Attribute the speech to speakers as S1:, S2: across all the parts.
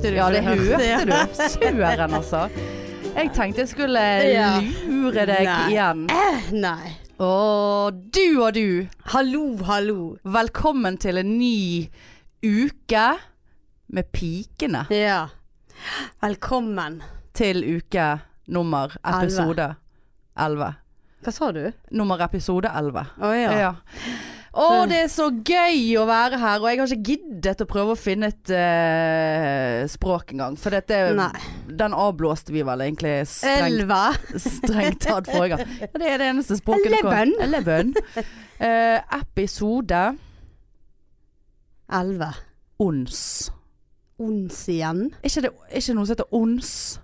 S1: du.
S2: Ja, det hørte
S1: Ja.
S2: du. Søren, altså. Jeg tenkte jeg skulle
S1: Ja.
S2: lure deg
S1: Nei.
S2: igjen.
S1: Eh, Nei.
S2: Og du og du,
S1: Hallo, hallo.
S2: velkommen til en ny uke med pikene.
S1: Ja. Velkommen.
S2: Til uke nummer episode 11.
S1: Hva sa du?
S2: Nummer episode 11.
S1: Å ja.
S2: Ja. Å, det er så gøy å være her, og jeg har ikke giddet å prøve å finne et eh, språk engang. For dette,
S1: Nei.
S2: den avblåste vi vel egentlig strengt,
S1: Elva.
S2: strengt tatt forrige gang. Ja, det er det eneste språket det kom-
S1: Eleven.
S2: Eleven. Eh, episode
S1: Elve.
S2: ons.
S1: Ons igjen.
S2: Er ikke det er ikke noe som heter ons?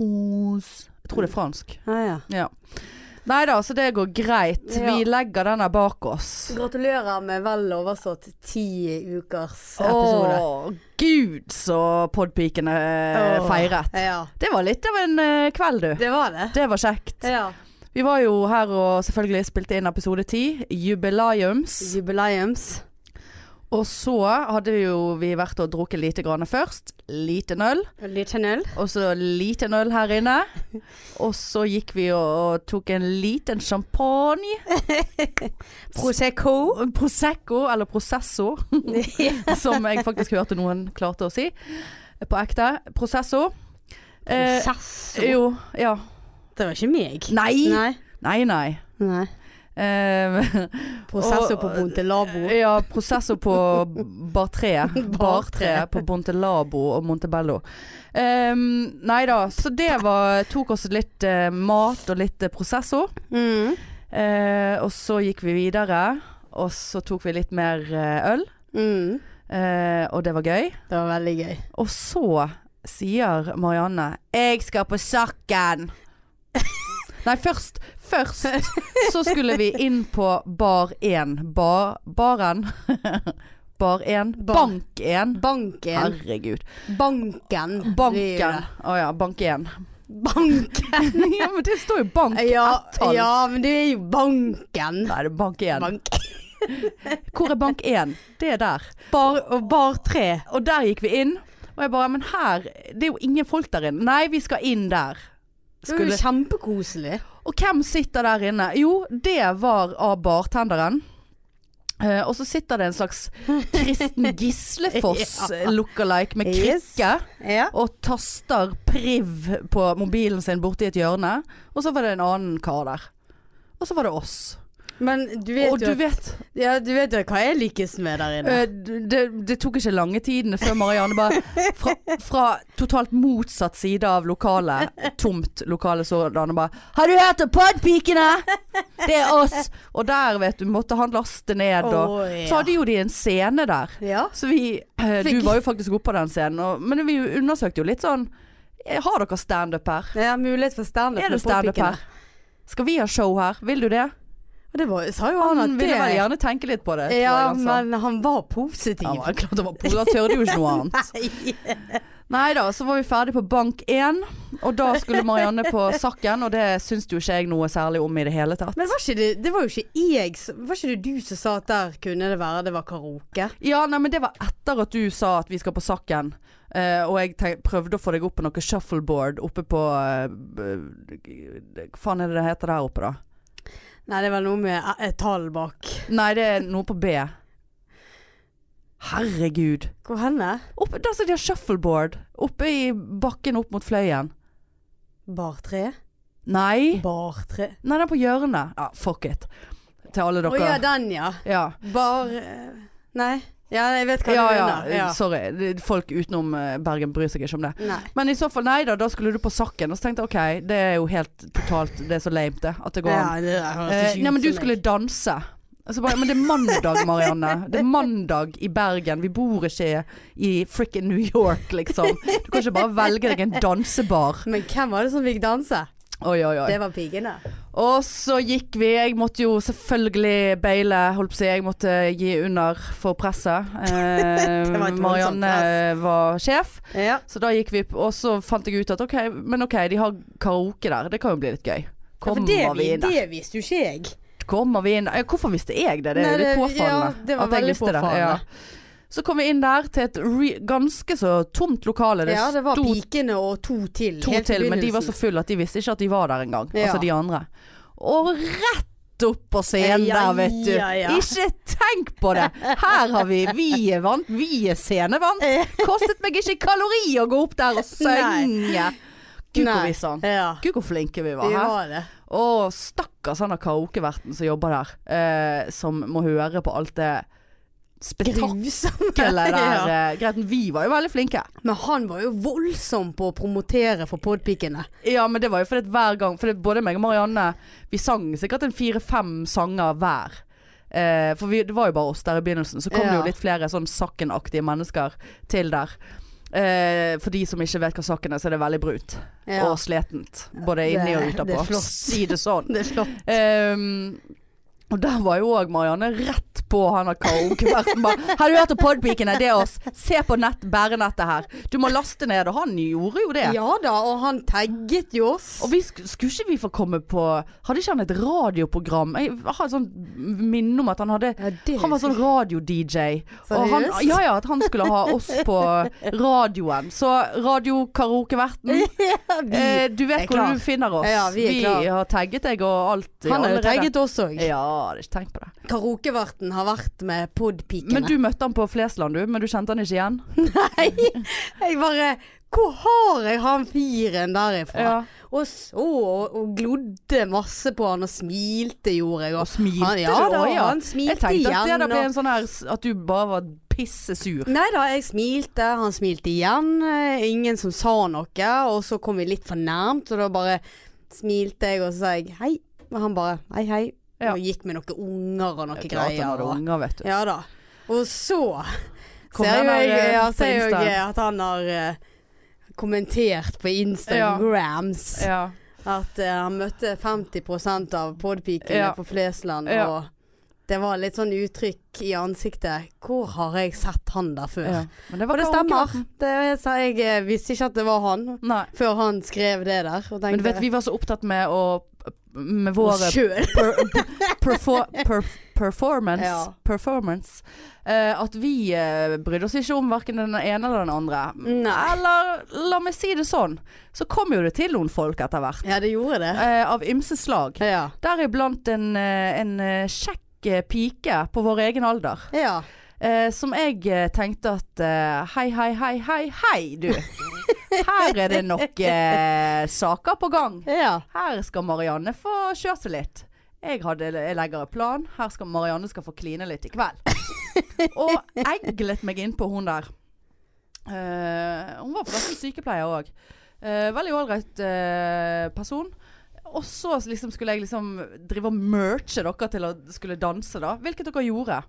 S2: Ons Jeg tror det er fransk.
S1: Å ja.
S2: Ja. Nei da, så det går greit.
S1: Ja.
S2: Vi legger denne bak oss.
S1: Gratulerer med vel overstått ti ukers episode.
S2: Åh, gud så podpikene eh,
S1: Åh.
S2: feiret.
S1: Ja.
S2: Det var litt av en eh, kveld, du.
S1: Det Eh, var det.
S2: Det var kjekt.
S1: Ja.
S2: Vi var jo her og selvfølgelig spilte inn episode 10, jubileums.
S1: Jubileums.
S2: Og så hadde vi jo vi vært og drukket lite grann først. Liten øl,
S1: Liten øl.
S2: og så liten øl her inne. Og så gikk vi og, og tok en liten champagne.
S1: Prosecco.
S2: Prosecco, eller prosessor, som jeg faktisk hørte noen klarte å si på ekte. Prosessor. Eh,
S1: Prosessor.
S2: Jo, ja.
S1: Det var ikke meg.
S2: Nei! Nei,
S1: Nei.
S2: nei.
S1: Nei.
S2: Eh,
S1: Prosessor
S2: Og-
S1: på Bontelabo.
S2: ja, prosessor på bartre. Bartre
S1: Bartre.
S2: på Bontelabo og Montebello. Eh, nei da, så det var Tok oss litt eh, mat og litt eh, prosessor.
S1: Mm.
S2: Eh, og så gikk vi videre, og så tok vi litt mer eh, øl.
S1: Mm.
S2: Eh, og det var gøy.
S1: Det var veldig gøy.
S2: Og så sier Marianne 'Jeg skal på Sakken'. Nei, først, først så skulle vi inn på Bar 1. Ba, baren. Bar 1.
S1: Bar.
S2: Bank 1.
S1: Banken.
S2: Herregud.
S1: Banken. Vi
S2: Banken.
S1: gjør det.
S2: Å ja, Bank 1.
S1: Banken.
S2: ja, men det står jo bank
S1: Ja,
S2: ett-tall.
S1: ja, men det er jo banken.
S2: Nei, det er Bank 1.
S1: Bank.
S2: Hvor er Bank 1? Det er der.
S1: Bar, og bar tre.
S2: Og der gikk vi inn. Og jeg bare Men her Det er jo ingen folk der inne. Nei, vi skal inn der.
S1: Det var jo kjempekoselig.
S2: Og hvem sitter der inne? Jo, det var av bartenderen. Eh, og så sitter det en slags Kristen Gislefoss
S1: Ja.
S2: lookalike med
S1: Yes.
S2: krikke
S1: Ja.
S2: og taster priv på mobilen sin borti et hjørne. Og så var det en annen kar der. Og så var det oss.
S1: Men du vet,
S2: og du
S1: jo,
S2: vet
S1: ja, du vet jo hva jeg likes med der inne.
S2: eh, det, det tok ikke lange tiden før Marianne bare fra, fra totalt motsatt side av lokalet, tomt lokale sådan, bare 'Har du hørt om Podpikene?' Det er oss! Og der, vet du, måtte han laste ned og
S1: Å, ja.
S2: Så hadde jo de en scene der.
S1: Ja.
S2: Så vi eh, Du
S1: Fikk-
S2: var jo faktisk oppe på den scenen, og, men vi undersøkte jo litt sånn eh, Har dere standup her?
S1: Jeg har mulighet for standup.
S2: Er det
S1: med
S2: standup
S1: påpikkene.
S2: her? Skal vi ha show her? Vil du det?
S1: Og det var, sa jo han,
S2: Han,
S1: at det
S2: ville vel gjerne tenke litt på det. tror
S1: Ja,
S2: jeg han sa.
S1: men han var positiv.
S2: Ja, men klart det altså. var på, da tør du jo ikke noe annet.
S1: Nei.
S2: Nei da, så var vi ferdig på bank 1, og da skulle Marianne på Sakken, og det syns jo ikke jeg noe særlig om i det hele tatt.
S1: Men var ikke det, det var jo ikke jeg som- Var ikke det du som sa at der kunne det være det var karaoke?
S2: Ja, nei, men det var etter at du sa at vi skal på Sakken, eh, og jeg tenk, prøvde å få deg opp på noe shuffleboard oppe på eh, b- Hva faen er det det heter der oppe, da?
S1: Nei, det var noe med eh, et tall bak.
S2: Nei, det er noe på B. Herregud.
S1: Hvor henne?
S2: Oppe, der som de har shuffleboard. Oppe i bakken opp mot Fløyen.
S1: Bar tre?
S2: Nei.
S1: Bar tre.
S2: Nei, den er på hjørnet. Ja, fuck it. Til alle
S1: Å
S2: dere.
S1: ja, den ja.
S2: ja.
S1: Bar eh, Nei. Ja, jeg vet hva
S2: ja,
S1: du
S2: ja,
S1: mener. Ja.
S2: sorry. Det- Folk utenom eh, Bergen bryr seg ikke om det.
S1: Nei.
S2: Men i så fall, nei da, da skulle du på Sakken. Og så tenkte jeg ok, det er jo helt totalt Det er så lame, det. At det går an.
S1: Ja, det høres
S2: Eh,
S1: ikke ut
S2: nei, men du
S1: som
S2: skulle
S1: meg.
S2: danse. Så bare, men det er mandag, Marianne. Det er mandag i Bergen. Vi bor ikke i frikken New York, liksom. Du kan ikke bare velge deg en dansebar.
S1: Men hvem var det som fikk danse?
S2: Oi, oi, oi.
S1: Det var pigene.
S2: Og så gikk vi. Jeg måtte jo selvfølgelig baile, holdt på å si. Jeg måtte gi under for presset. Eh,
S1: Det var et voldsomt
S2: Marianne var sjef,
S1: Ja.
S2: så da gikk vi opp. Og så fant jeg ut at OK, men OK, de har karaoke der. Det kan jo bli litt gøy.
S1: for
S2: Kommer
S1: det,
S2: vi
S1: vi-
S2: inn der?
S1: det visste jo ikke jeg.
S2: Kommer vi inn der? Ja, Hvorfor visste jeg det? Det er
S1: Nei,
S2: jo litt
S1: det- ja,
S2: påfallende.
S1: det var
S2: at jeg
S1: veldig
S2: visste
S1: påfallende.
S2: Ja. Så kom vi inn der til et re ganske så tomt lokale.
S1: Ja, det var
S2: sto
S1: pikene og to til.
S2: to
S1: helt i
S2: til, men de var så
S1: begynnelsen.
S2: fulle at de visste ikke at de var der engang.
S1: Ja.
S2: Altså de andre. Og rett opp på scenen Ja, der, vet du.
S1: ja, ja.
S2: Ikke tenk på det! Her har vi Vi er vant, vi er scenevant. Kostet meg ikke kalori å gå opp der og synge. Gud hvor
S1: Nei.
S2: vi sang.
S1: Ja,
S2: Gud hvor flinke vi var.
S1: de
S2: Her.
S1: var det.
S2: Og stakkars han av karaokeverten som jobber der, eh, som må høre på alt det spetakkelet
S1: Grusomme.
S2: der.
S1: Ja.
S2: eh, Greit, vi var jo veldig flinke.
S1: Men han var jo voldsom på å promotere for podpikene.
S2: Ja, men det var jo fordi at hver gang For det, både meg og Marianne Vi sang sikkert en fire-fem sanger hver eh, For vi, det var jo bare oss der i begynnelsen Så kom det
S1: Ja.
S2: jo litt flere sånn sakkenaktige mennesker til der eh, For de som ikke vet hva sakken er Så er det veldig brunt
S1: Ja.
S2: og sletent Både inni og
S1: Det- det er
S2: utenpå
S1: flott.
S2: Si det sånn
S1: Det er flott.
S2: Ehm, og der var jo òg Marianne rett på han har karaokeverten. bare, Har du hørt om podpikene? Det er oss. Se på nett, bærenettet her. Du må laste ned. Og han gjorde jo det.
S1: Ja da, og han tagget jo oss.
S2: Og vi sk skulle ikke vi få komme på Hadde ikke han et radioprogram? Jeg har et sånt minne om at han hadde
S1: Ja, det
S2: han var sånn radio-DJ. Og han,
S1: Seriøst?
S2: ja, ja, at han skulle ha oss på radioen. Så radiokaraokeverten,
S1: vi,
S2: eh, du
S1: er
S2: vet
S1: klar.
S2: hvor du finner oss.
S1: Ja, ja, vi er klar.
S2: har tagget deg og alt.
S1: han har jo
S2: allerede.
S1: tagget oss òg.
S2: Ja, hadde ikke tenkt på det.
S1: Karaokeverten har vært med podpikene.
S2: Men du møtte han på Flesland, du. Men du kjente han ikke igjen?
S1: Jeg bare Hvor har jeg han fyren der ifra?
S2: Ja.
S1: Og så og, og glodde masse på han, og smilte gjorde jeg.
S2: Og
S1: Og,
S2: smilte
S1: han,
S2: du
S1: ja,
S2: da?
S1: da,
S2: ja.
S1: han
S2: Jeg
S1: smilte
S2: tenkte at det
S1: igjen.
S2: da ble
S1: og-
S2: en sånn her s- At du bare var pissesur.
S1: Nei da, jeg smilte, han smilte igjen. eh, Ingen som sa noe. Og så kom vi litt for nærmt, og da bare smilte jeg, og så sa jeg hei. Og han bare hei, hei.
S2: Ja.
S1: Og gikk med noen unger og noen
S2: Det er Klart han
S1: greier.
S2: hadde
S1: Og,
S2: unger, vet du.
S1: ja da. Og så
S2: Kom
S1: ser
S2: den
S1: jo
S2: der,
S1: jeg,
S2: eh,
S1: ja,
S2: på
S1: ser jo
S2: Insta.
S1: jeg at han har eh, kommentert på Instagrams
S2: Ja.
S1: at eh, han møtte 50 av podpikene
S2: Ja.
S1: på Flesland,
S2: Ja.
S1: og det var litt sånn uttrykk i ansiktet. Hvor har jeg sett han der før?
S2: Men det
S1: Og det stemmer.
S2: karaokeverten.
S1: Det, jeg, sa- jeg eh, visste ikke at det var han
S2: Nei.
S1: før han skrev det der. Og tenkte,
S2: Men du vet, vi var så opptatt med å Med
S1: oss
S2: våre
S1: sjøl.
S2: per, perfor- perf- performance,
S1: Ja.
S2: performance eh, at vi eh, brydde oss ikke om verken den ene eller den andre.
S1: Nei.
S2: Eller la meg si det sånn, så kom jo det til noen folk etter hvert.
S1: Ja, det gjorde det.
S2: eh, av ymse slag.
S1: Ja.
S2: Deriblant en, eh, en eh, kjekk eh, pike på vår egen alder.
S1: ja.
S2: Eh, som jeg eh, tenkte at eh, hei, hei, hei, hei, hei, du. Her er det nok eh, saker på gang.
S1: ja.
S2: Her skal Marianne få kjøre seg litt. Jeg, hadde, jeg legger en plan. Her skal Marianne skal få kline litt i kveld. Og eglet meg innpå hun der. Eh, hun var forresten sykepleier òg. veldig ålreit eh, person. Og så liksom skulle jeg liksom drive og merche dere til å skulle danse, da. Hvilket dere gjorde.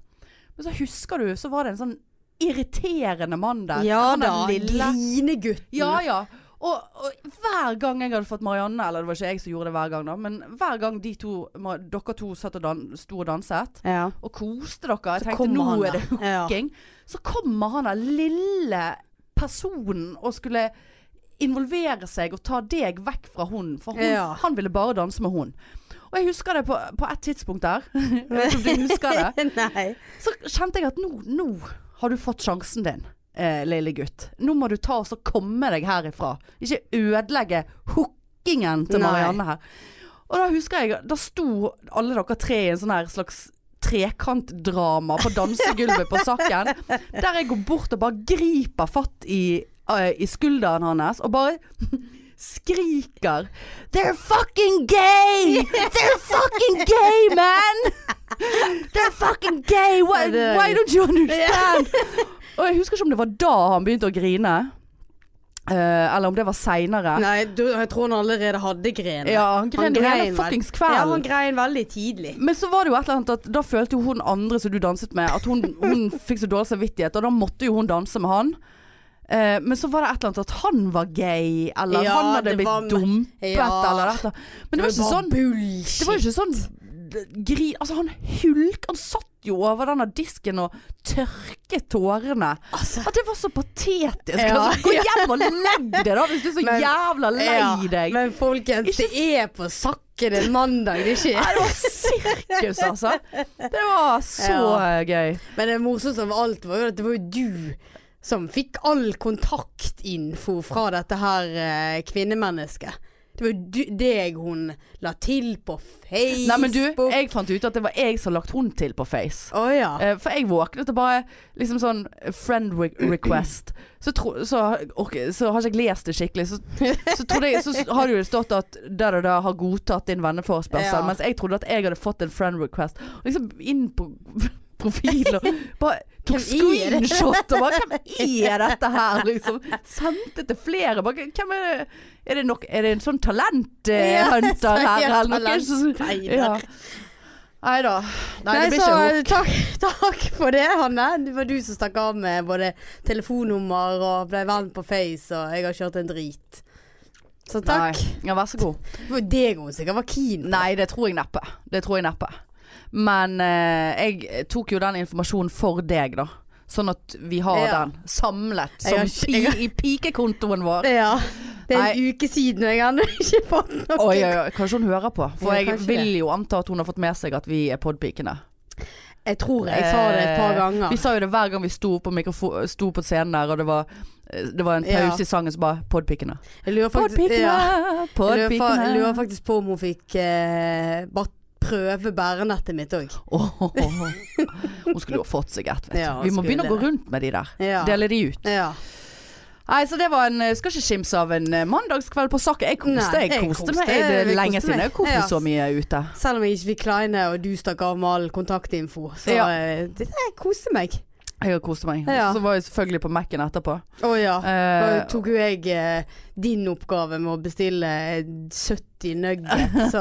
S2: Men så husker du, så var det en sånn irriterende mann der.
S1: ja
S2: Han
S1: da.
S2: er lille.
S1: Grinegutten.
S2: Ja, ja. Og, og hver gang jeg hadde fått Marianne, eller det var ikke jeg som gjorde det hver gang, da, men hver gang de to, ma- dere to satt og dan sto og danset
S1: ja.
S2: og koste dere, jeg tenkte
S1: Kommer
S2: nå
S1: han
S2: er det
S1: da. ja.
S2: fucking Så kommer han der lille personen og skulle involvere seg og ta deg vekk fra hun, for hun,
S1: Ja.
S2: han ville bare danse med hun. Og jeg husker det på, på et tidspunkt der, jeg vet ikke om du husker det,
S1: Nei.
S2: så kjente jeg at nå, nå har du fått sjansen din, eh, lille gutt. Nå må du ta og så komme deg herifra. Ikke ødelegge hookingen til
S1: Nei.
S2: Marianne her. Og da husker jeg, da sto alle dere tre i en sånn her slags trekantdrama på dansegulvet på Sakken. Der jeg går bort og bare griper fatt i, eh, i skulderen hans og bare skriker They're fucking gay! They're fucking gay, man! They're fucking gay! Why,
S1: Ja, det er-
S2: why don't you understand? Og jeg husker ikke om det var da han begynte å grine. eh, eller om det var seinere.
S1: Nei, du, jeg tror han allerede hadde grener.
S2: Ja, han
S1: Han
S2: grein jo hele
S1: grein vel-
S2: fuckings
S1: ja,
S2: kvelden.
S1: han grein veldig tidlig.
S2: Men så var det jo et eller annet at da følte jo hun andre som du danset med, at hun, hun fikk så dårlig samvittighet, og da måtte jo hun danse med han. Eh, men så var det et eller annet at han var gay, eller
S1: Ja,
S2: han hadde
S1: det
S2: blitt
S1: var me-
S2: dumpet,
S1: Ja.
S2: eller dette. Men det var ikke
S1: bare
S2: sånn
S1: bullshit.
S2: Det var jo ikke sånn d- gri... Altså, han hulk Han satt jo over denne disken og tørket tårene.
S1: altså,
S2: At det var så patetisk.
S1: Ja.
S2: Altså, gå hjem og legg deg, da, hvis du er så
S1: Men-
S2: jævla lei
S1: ja,
S2: deg.
S1: Men folkens,
S2: Ikke
S1: det er på ikke det mandag det skjer.
S2: Nei, det var sirkus, altså. Det var så gøy.
S1: Men det morsomste av alt var jo at det var jo du som fikk all kontaktinfo fra dette her eh, kvinnemennesket. Det var jo du- deg hun la til på Facebook.
S2: Nei, men du, jeg fant ut at det var jeg som lagt hun til på Face.
S1: Å ja.
S2: Eh, For jeg våknet og bare liksom sånn friend re request. Så, tro, så, ork- så har ikke jeg lest det skikkelig. Så, så, trodde jeg, så har det jo stått at der og der har godtatt din venneforespørsel.
S1: Ja.
S2: Mens jeg trodde at jeg hadde fått en friend request. Og liksom inn på profilen og bare tok
S1: Hvem er det?
S2: screenshot og bare Hvem er dette her? Liksom. Sendte til flere. Bare, hvem er det? Er det, nok, er det en sånn
S1: Ja,
S2: talenthunter her,
S1: sånn
S2: eller noe? Så-
S1: talentfeider.
S2: Ja. Nei da. Nei,
S1: Nei,
S2: det blir
S1: så
S2: ikke
S1: eh, takk, takk for det, Hanne. Det var du som stakk av med både telefonnummer og ble venn på Face, og jeg har kjørt en drit. Så
S2: Nei.
S1: takk.
S2: eh, Ja, vær så god.
S1: Det var deg hun sikkert var keen på.
S2: Nei, det tror jeg neppe. Det tror jeg neppe. Men eh, jeg tok jo den informasjonen for deg, da. Sånn at vi har
S1: Ja.
S2: den samlet
S1: Jeg
S2: som
S1: har ikke- jeg har-
S2: pi i pikekontoen vår.
S1: Ja. Det er en uke siden, og jeg har ennå ikke fått noe.
S2: Oi, oi, oi. Kanskje hun hører på. For
S1: Ja,
S2: jeg
S1: kanskje
S2: vil jo anta at hun har fått med seg at vi er podpikene.
S1: Jeg tror jeg sa det et par
S2: Eh,
S1: ganger.
S2: Vi sa jo det hver gang vi sto på, mikrofo- sto på scenen der, og det var, eh, det var en
S1: Ja.
S2: pause i sangen som bare Podpikene.
S1: Jeg lurer faktisk,
S2: Podpikene!
S1: ja, jeg lurer, fa
S2: Podpikene!
S1: lurer faktisk på om hun fikk eh, bare prøve bærenettet mitt òg.
S2: Åh, Hun skulle jo ha fått seg et, vet du.
S1: Ja, hun
S2: vi må
S1: skulle
S2: begynne å gå
S1: det.
S2: rundt med de der.
S1: Ja.
S2: Dele de ut.
S1: Ja.
S2: Nei, så det var en eh, Skal ikke skimse av en eh, mandagskveld på Sakke. Jeg koste,
S1: Nei,
S2: jeg
S1: jeg
S2: koste
S1: koste,
S2: meg. Det er
S1: jeg
S2: lenge
S1: koste
S2: siden
S1: meg.
S2: jeg har kost meg
S1: Ja.
S2: så mye ute.
S1: Selv om jeg ikke fikk kleine, og du stakk av med all kontaktinfo. Så
S2: Ja.
S1: eh, det, jeg koste meg.
S2: Jeg har kost meg.
S1: Ja.
S2: Så var jeg selvfølgelig på Mac-en etterpå.
S1: Å ja. Da
S2: Eh,
S1: tok jo jeg eh, din oppgave med å bestille 70 nuggets. Så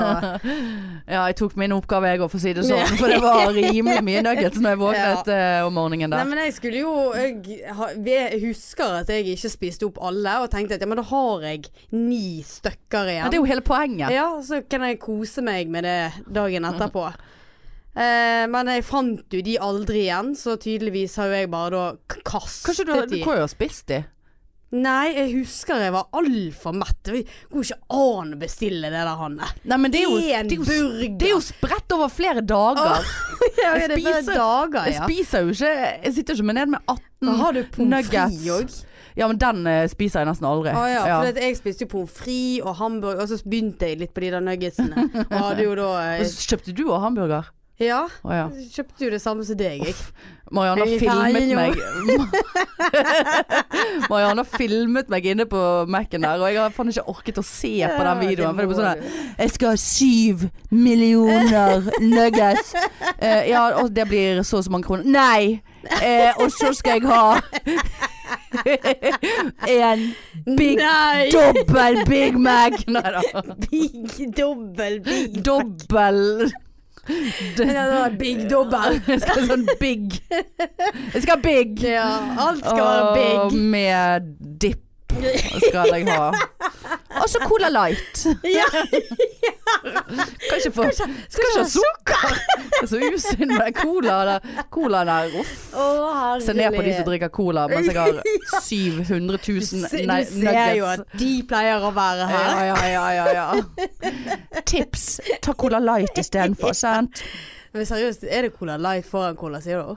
S2: ja, jeg tok min oppgave jeg òg, for å si det sånn.
S1: Ja.
S2: For det var rimelig mye nuggets når jeg våknet eh, om morgenen
S1: Nei,
S2: der.
S1: men jeg skulle jo jeg, ha- jeg husker at jeg ikke spiste opp alle, og tenkte at ja, men da har jeg ni stykker igjen.
S2: Men det er jo hele poenget.
S1: Ja, så kan jeg kose meg med det
S2: Mhm.
S1: dagen etterpå. Eh, men jeg fant jo de aldri igjen, så tydeligvis har jo jeg bare da k- kastet
S2: Kanskje du, du
S1: de.
S2: kunne jo ha spist de?
S1: Nei, jeg husker jeg var altfor mett. Jeg går ikke an å bestille det der, Hanne.
S2: Nei, men det er jo,
S1: En
S2: det er jo,
S1: burger.
S2: det er jo spredt over flere dager.
S1: jeg
S2: jeg spiser-
S1: dager,
S2: Jeg
S1: ja.
S2: spiser jo ikke Jeg sitter jo ikke med ned med 18
S1: Da har du pommes frites
S2: nuggets.
S1: òg.
S2: Ja, men den eh, spiser jeg nesten aldri.
S1: Å ja,
S2: Ja.
S1: for at jeg spiste jo pommes frites og hamburger, og så begynte jeg litt på de der nuggetsene. Og hadde jo da eh,
S2: Men så Kjøpte du òg hamburger?
S1: Ja,
S2: Å ja.
S1: kjøpte jo det samme som deg, jeg.
S2: Uff. Marianne har
S1: Jeg er
S2: filmet
S1: ferdig nå.
S2: meg Marianne har filmet meg inne på Mac-en der, og jeg har faen ikke orket å se på den
S1: Ja,
S2: videoen. For det er
S1: må
S2: bare sånn der,
S1: du.
S2: jeg skal ha syv millioner nuggets. Eh, ja, og det blir så og så mange kroner. Nei! Eh, og så skal jeg ha en Big
S1: Nei!
S2: dobbel Big Mac. Nei da.
S1: Big dobbel big.
S2: Dobbel
S1: Ja, det var big dobbel.
S2: Jeg skal ha sånn big. Jeg skal ha big.
S1: Ja, alt skal være
S2: Og
S1: big.
S2: med dipp skal jeg ha. Og så Cola Light.
S1: Ja,
S2: Kan ikke få Skal ikke ha sukker. Det er så usynd med den cola der. Cola der. Uff.
S1: å herregud.
S2: Se ned på de som drikker cola mens jeg har 700
S1: Du
S2: 000
S1: ser-
S2: nei,
S1: Du ser jo
S2: nuggets.
S1: at de pleier å være her.
S2: Ja, ja, ja, ja, ja. Tips. Ta Cola Light istedenfor, sant?
S1: Men seriøst, er det Cola Light foran Cola Zero?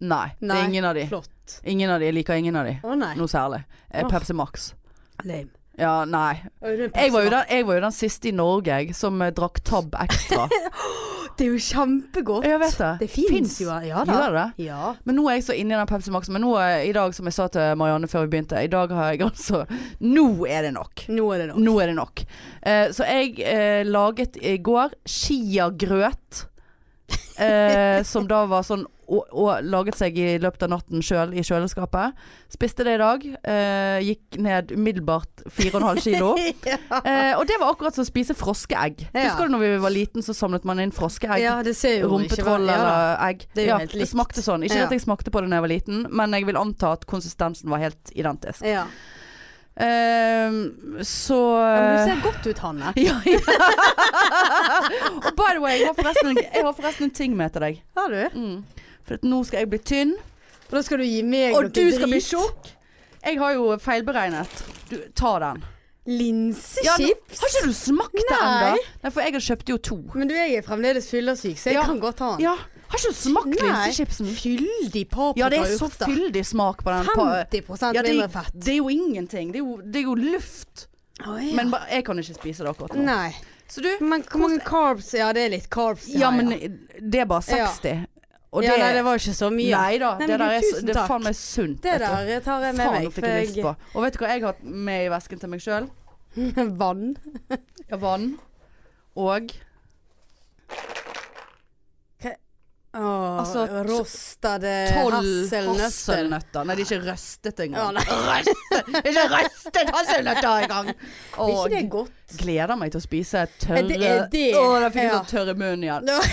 S2: Nei, det
S1: Nei.
S2: er ingen av de.
S1: Flott.
S2: Ingen av de. Jeg liker ingen av de.
S1: Å nei.
S2: Noe særlig. Eh,
S1: Åh.
S2: Pepsi Max.
S1: Lame.
S2: Ja, nei. Jeg var, jo den, jeg var jo den siste i Norge jeg, som eh, drakk Tab Extra.
S1: Det er jo kjempegodt.
S2: Jeg vet det.
S1: Det fins
S2: Finns.
S1: jo. Ja da.
S2: Gjør det det?
S1: Ja.
S2: Men nå er jeg så inne i den Pepsi Max. Men nå eh, i dag, som jeg sa til Marianne før vi begynte, i dag har jeg altså Nå er det nok.
S1: Nå er det nok.
S2: Nå er det nok. Eh, så jeg eh, laget i går chiagrøt. Eh, som da var sånn og, og laget seg i løpet av natten sjøl i kjøleskapet. Spiste det i dag. Eh, gikk ned umiddelbart 4,5 kilo. Eh, og det var akkurat som å spise froskeegg.
S1: Ja.
S2: Husker du når vi var liten så samlet man inn froskeegg?
S1: Ja, det ser jo ikke
S2: Rumpetroll
S1: hva- ja da.
S2: eller egg.
S1: Det er jo
S2: ja,
S1: helt
S2: det
S1: likt.
S2: smakte sånn. Ikke
S1: Ja.
S2: at jeg smakte på det da jeg var liten, men jeg vil anta at konsistensen var helt identisk.
S1: Ja.
S2: Ehm, så
S1: Ja, Men du ser godt ut, Hanne.
S2: ja, ja. Og by the way, jeg har forresten, jeg har forresten en ting med til deg.
S1: Har du?
S2: For at nå skal jeg bli tynn,
S1: Og da skal du gi meg
S2: og
S1: noe
S2: du skal bli
S1: drit.
S2: tjukk. Jeg har jo feilberegnet. Du, ta den. Ja, nå-
S1: Linsechips?
S2: Har ikke du smakt det
S1: Nei.
S2: ennå? Nei, for jeg kjøpte jo to.
S1: Men du, jeg er fremdeles fyllesyk, så jeg
S2: Ja.
S1: kan godt ta den.
S2: Ja. Har ikke du smakt
S1: Nei.
S2: linsechipsen?
S1: Fyldig paprika
S2: Ja, det er så
S1: urter.
S2: fyldig smak på den. På,
S1: 50
S2: ja, det,
S1: mindre fett.
S2: det er jo ingenting. Det er jo, det er jo luft.
S1: Å, ja.
S2: Men ba- jeg kan ikke spise det akkurat nå.
S1: Nei.
S2: Så du
S1: Men hvor mange carbs Ja, det er litt carbs.
S2: Ja, men det er bare 60. Og det
S1: ja, Nei, det var ikke så mye.
S2: Nei da.
S1: Nei, men
S2: det
S1: du,
S2: der er,
S1: tusen
S2: det er
S1: takk.
S2: faen meg sunt.
S1: det
S2: vet du.
S1: der tar jeg med
S2: Faen, nå
S1: meg.
S2: fikk jeg lyst på. Og vet du hva jeg har hatt med i vesken til meg sjøl?
S1: jeg Vann.
S2: Ja, vann og
S1: Åh,
S2: Altså, t-
S1: rostede
S2: tolv
S1: hasselnøtter.
S2: Eh, hasselnøtter. Nei, de er ikke røstet
S1: Å,
S2: engang.
S1: nei.
S2: Det er ikke røstet hasselnøtter engang!
S1: Er ikke
S2: Og
S1: det godt?
S2: gleder meg til å spise tørre
S1: Er det- er det-
S2: Å, da fikk jeg
S1: ja.
S2: sånn tørre munn igjen.
S1: Nå-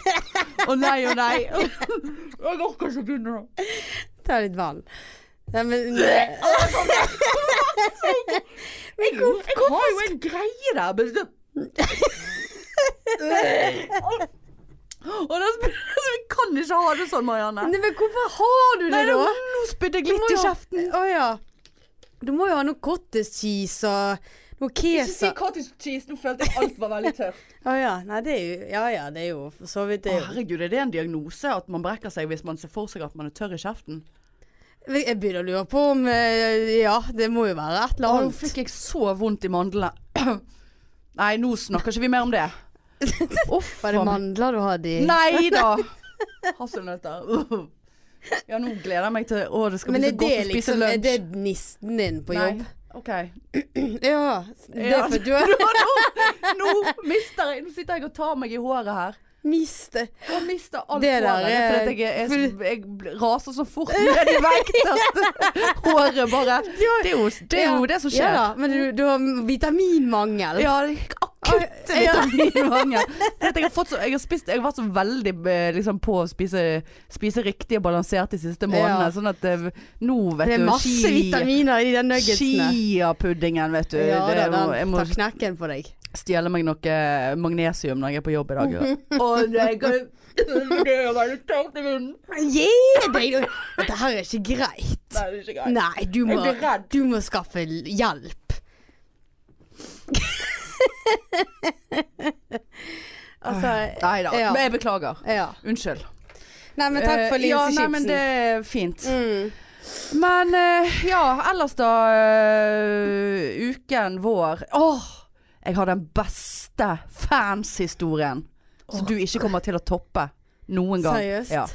S2: Å nei, å nei. Jeg orker ikke begynne nå.
S1: Ta litt vann. Nei, men Men hvor-
S2: Jeg har jo en greie der. Men det... Og da spyr- altså, Vi kan ikke ha det sånn, Marianne.
S1: Nei, men hvorfor har du det,
S2: Nei, det
S1: da?
S2: var- nå spydde jeg
S1: Du må
S2: litt i
S1: jo-
S2: kjeften.
S1: Å ja. Du må jo ha noe cottage cheese og noe kesar.
S2: cottage cheese, nå følte jeg alt var veldig tørt.
S1: Å ja. Nei, det er jo Ja ja, det er jo for så vidt det. er jo-
S2: herregud, er det en diagnose at man brekker seg hvis man ser for seg at man er tørr i kjeften?
S1: Jeg begynner å lure på om eh, Ja, det må jo være et eller
S2: Å, nå
S1: annet.
S2: fikk jeg så vondt i mandlene. Nei, nå snakker ikke vi mer om det. Uff
S1: Var det
S2: faen.
S1: mandler du hadde i?
S2: Nei da! Hasselnøtter. Uh. Ja, nå gleder jeg meg til Å, det skal
S1: Men
S2: bli
S1: er
S2: så
S1: det
S2: godt å spise
S1: liksom Er
S2: lunsj.
S1: det nisten din på jobb?
S2: Nei. OK.
S1: Ja. Det
S2: Ja.
S1: er for du har
S2: Nå mister jeg Nå sitter jeg og tar meg i håret her.
S1: mistet
S2: Og mister alt
S1: Det der
S2: håret. Det er fordi at jeg, er- jeg, jeg bl- raser så fort ned i vekt at håret bare Det er jo det, er jo det som
S1: Ja
S2: skjer.
S1: da, men du, du har vitaminmangel.
S2: Ja, det gikk akutt
S1: Ja.
S2: vitaminmangel. Det at Jeg, har fått så- jeg, har spist- jeg har vært så veldig eh, liksom, på å spise, spise riktig og balansert de siste månedene.
S1: Ja.
S2: Sånn at eh, nå, vet
S1: Det er
S2: du
S1: masse vitaminer i de der nuggetsene.
S2: Chia-puddingen, vet du.
S1: Ja
S2: det,
S1: da,
S2: er jo- jeg
S1: den
S2: må
S1: tar knekken på deg.
S2: stjele meg noe eh, magnesium når jeg er på jobb i dag. Å nei, kan- det er veldig tørt i munnen.
S1: Gi deg! nå. Dette her er ikke greit.
S2: Nei, det er ikke greit.
S1: Nei, du må,
S2: Jeg blir redd.
S1: du må skaffe l- hjelp. altså
S2: Nei da,
S1: Ja.
S2: men jeg beklager.
S1: Ja.
S2: Unnskyld.
S1: Nei, men takk for
S2: Eh, Ja, nei, men
S1: linsechipsen.
S2: det er fint.
S1: Mm.
S2: Men eh, ja, ellers da eh, Uken vår. Åh! Jeg har den beste fanshistorien som
S1: Åh,
S2: du ikke kommer til å toppe noen gang.
S1: Seriøst?
S2: Ja.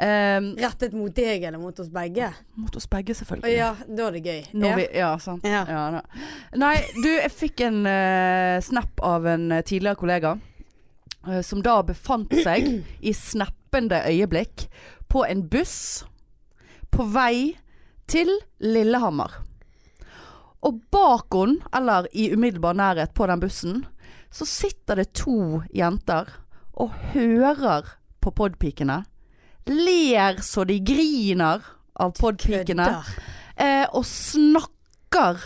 S2: Um,
S1: Rettet mot deg eller mot oss begge?
S2: mot oss begge,
S1: Å
S2: selvfølgelig.
S1: ja, da er det gøy.
S2: Når
S1: ja.
S2: Vi, ja, sant.
S1: Ja.
S2: Ja, da. Nei, du, jeg fikk en eh, snap av en eh, tidligere kollega eh, som da befant seg i snappende øyeblikk på en buss på vei til Lillehammer. Og bak henne, eller i umiddelbar nærhet på den bussen, så sitter det to jenter og hører på podpikene. Ler så de griner av podpikene
S1: Kødder.
S2: eh, og snakker